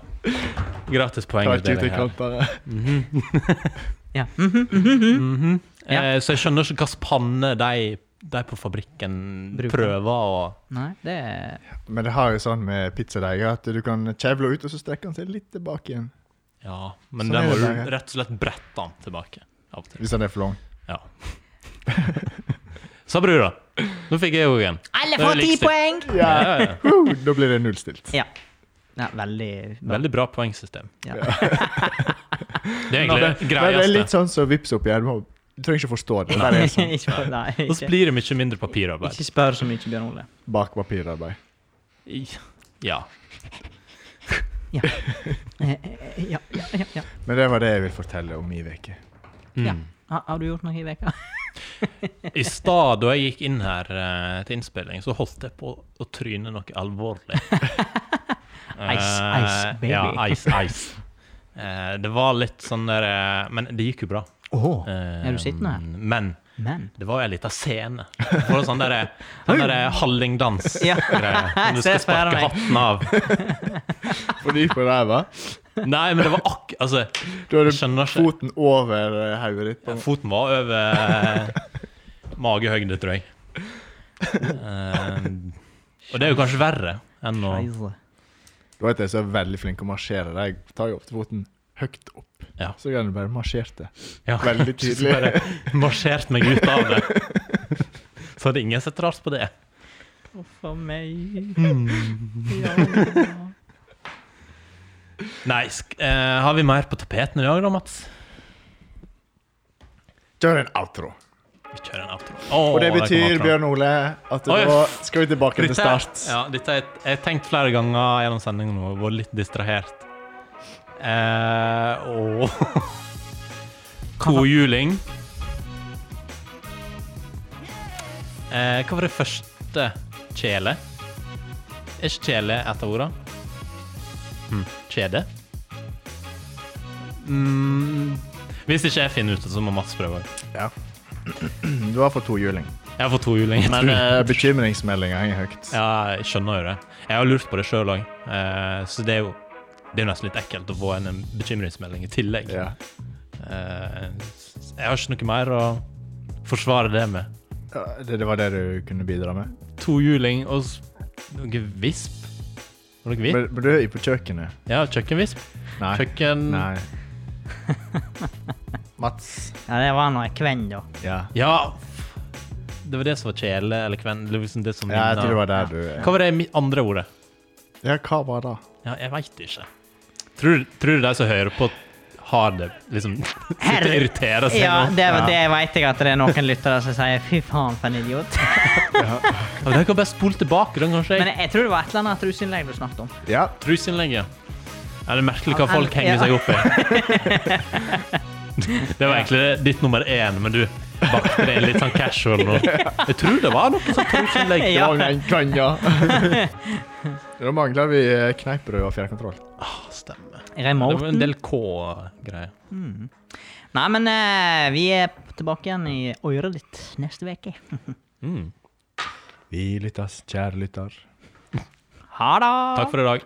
Speaker 1: Gratis
Speaker 2: Ta ikke ut i
Speaker 1: poengutdeling her.
Speaker 2: kantene.
Speaker 3: Ja. mhm, Ja.
Speaker 1: Eh, så jeg skjønner ikke hvilken panne de, de på fabrikken
Speaker 3: Bruker.
Speaker 1: prøver å
Speaker 3: Nei, det er
Speaker 2: Men det har jo sånn med pizzadeig at du kan kjevle ut, og så strekker den seg litt tilbake igjen.
Speaker 1: Ja, men
Speaker 2: Sånn
Speaker 1: den
Speaker 2: er
Speaker 1: må du
Speaker 2: det bare.
Speaker 1: rett og slett brette den tilbake. Av og til.
Speaker 2: Hvis den er for lang.
Speaker 1: Ja. [laughs] Sa brura. Nå fikk jeg jo igjen.
Speaker 3: Alle
Speaker 1: får
Speaker 3: får
Speaker 1: Det er
Speaker 3: ti
Speaker 1: ti likestilt.
Speaker 3: poeng!
Speaker 1: Ja, ja, ja.
Speaker 2: Woo, da blir det nullstilt.
Speaker 3: Ja. ja veldig bra.
Speaker 1: Veldig bra poengsystem.
Speaker 3: Ja. [laughs]
Speaker 1: Det er egentlig det
Speaker 2: Men det er litt
Speaker 1: greieste.
Speaker 2: sånn som Vipps-oppgjør. Du må- Du trenger ikke forstå det. Det er sånn
Speaker 1: [laughs]
Speaker 3: ikke, for- nei,
Speaker 1: Og så
Speaker 3: ikke,
Speaker 1: blir det mye mindre papirarbeid.
Speaker 3: ikke spør så mye, Bjørn Ole.
Speaker 2: bakpapirarbeid.
Speaker 1: Ja.
Speaker 3: Eh, eh, Ja, ja, ja, ja.
Speaker 2: Men det var det jeg ville fortelle om i uke.
Speaker 3: ja.
Speaker 1: Mm.
Speaker 3: Har, har du gjort noe i veka?
Speaker 1: I stad da jeg gikk inn her eh, til innspilling, så holdt jeg på å tryne noe alvorlig.
Speaker 3: [laughs] Ice, ice,
Speaker 1: Eh,
Speaker 3: baby.
Speaker 1: Ja, ice, ice. Eh, det var litt sånn der eh, Men det gikk jo bra.
Speaker 2: Oh.
Speaker 1: Eh,
Speaker 3: Er du sittende her?
Speaker 1: Men
Speaker 3: Men
Speaker 1: Det var jo en liten
Speaker 3: [laughs]
Speaker 1: scene. Det var sånn der, sånn der hallingdans.
Speaker 3: Ja.
Speaker 1: greier,
Speaker 3: [laughs]
Speaker 1: Som du skal
Speaker 3: Jeg ser for
Speaker 1: sparke
Speaker 3: meg.
Speaker 1: hatten av.
Speaker 2: Fordi på ræva,
Speaker 1: Nei, men det var akk... Altså,
Speaker 2: da har du
Speaker 1: jeg skjønner ikke.
Speaker 2: foten over eh, hodet ditt. på-
Speaker 1: Foten var over eh, magehøyde,
Speaker 3: [laughs]
Speaker 1: tror jeg. Ehm, og det er jo kanskje verre enn å
Speaker 3: Scheisse.
Speaker 2: Du vet jeg som er veldig flink til å marsjere. da. Jeg tar jo ofte foten høyt opp.
Speaker 1: Ja.
Speaker 2: Så kan du bare marsjerte.
Speaker 1: ja,
Speaker 2: Veldig
Speaker 1: [laughs] så
Speaker 2: tydelig.
Speaker 1: Bare marsjert meg ut av det. Så hadde ingen sett rart på det.
Speaker 3: Uff a meg.
Speaker 1: Hmm. Nei, sk eh, har vi mer på tapeten i dag da, Mats?
Speaker 2: Kjør en outro.
Speaker 1: Vi kjører en outro. Åh,
Speaker 2: Og det
Speaker 1: der kom
Speaker 2: betyr,
Speaker 1: outroen.
Speaker 2: Bjørn Ole, at
Speaker 1: Oi,
Speaker 2: da skal vi tilbake til
Speaker 1: Dette er-
Speaker 2: start.
Speaker 1: Ja, dette er, et- jeg har tenkt flere ganger gjennom sendingen nå, og vært [laughs] litt distrahert. Eh, og Tohjuling. Eh, hva var det første kjele? Er ikke kjele et av ordene?
Speaker 2: Hmm.
Speaker 1: Hm, kjede? Mm, hvis ikke jeg finner ut det, så må Mats prøve.
Speaker 2: Ja. [clears throat] Du har fått tohjuling.
Speaker 1: Jeg får tohjuling. jeg
Speaker 2: Men
Speaker 1: tror.
Speaker 2: eh, bekymringsmeldinga henger høyt.
Speaker 1: Ja, jeg skjønner jo det. Jeg har lurt på det sjøl òg. Eh, så det er jo det er jo nesten litt ekkelt å få en, en bekymringsmelding i tillegg.
Speaker 2: Ja.
Speaker 1: Eh, jeg har ikke noe mer å forsvare det med.
Speaker 2: Ja, Det, det var det du kunne bidra med?
Speaker 1: Tohjuling og s- noe visp. Var det noe visp?
Speaker 2: Men, men du er jo på kjøkkenet.
Speaker 1: Ja, kjøkkenvisp.
Speaker 2: Nei.
Speaker 1: Kjøkken [laughs]
Speaker 2: Nei. Mats.
Speaker 3: Ja, det var nå en kvenn, da.
Speaker 2: Ja.
Speaker 1: Ja! f- Det var det som var kjele eller kven... Det var liksom det som
Speaker 2: ja, jeg tror det
Speaker 1: minner-
Speaker 2: var der du
Speaker 1: Hva var det mi- andre ordet?
Speaker 2: Ja, hva var det?
Speaker 1: Ja, jeg veit ikke. Tror, tror du de som hører på, har det liksom Sitter og irriterer seg
Speaker 3: Ja,
Speaker 1: nå?
Speaker 3: det,
Speaker 2: Ja.
Speaker 3: det veit jeg at det er noen lyttere som sier 'fy faen, for en idiot'.
Speaker 1: Ja, men De kan bare spole tilbake, den kanskje.
Speaker 3: Men jeg, jeg tror det var et eller annet truseinnlegg du snakket om.
Speaker 2: Ja.
Speaker 1: Trusinnlegget. Ja, det er merkelig hva folk
Speaker 3: Ja.
Speaker 1: henger seg opp i.
Speaker 3: [laughs]
Speaker 1: Det var egentlig ditt nummer én, men du bakte det inn litt sånn casual nå. Jeg tror det var noe sånn trusinnlegg.
Speaker 3: Ja.
Speaker 2: Det var en gang, ja. [laughs] da mangler vi eh, kneippbrød og fjernkontroll.
Speaker 1: Ah, Stemmer. Det var en
Speaker 3: Remoten.
Speaker 1: del K-greier.
Speaker 3: Nei, men eh, vi er tilbake igjen i øret ditt neste uke. [laughs]
Speaker 1: Mm.
Speaker 2: Vi lyttes, kjære lytter.
Speaker 3: Ha det!
Speaker 1: Takk for i dag.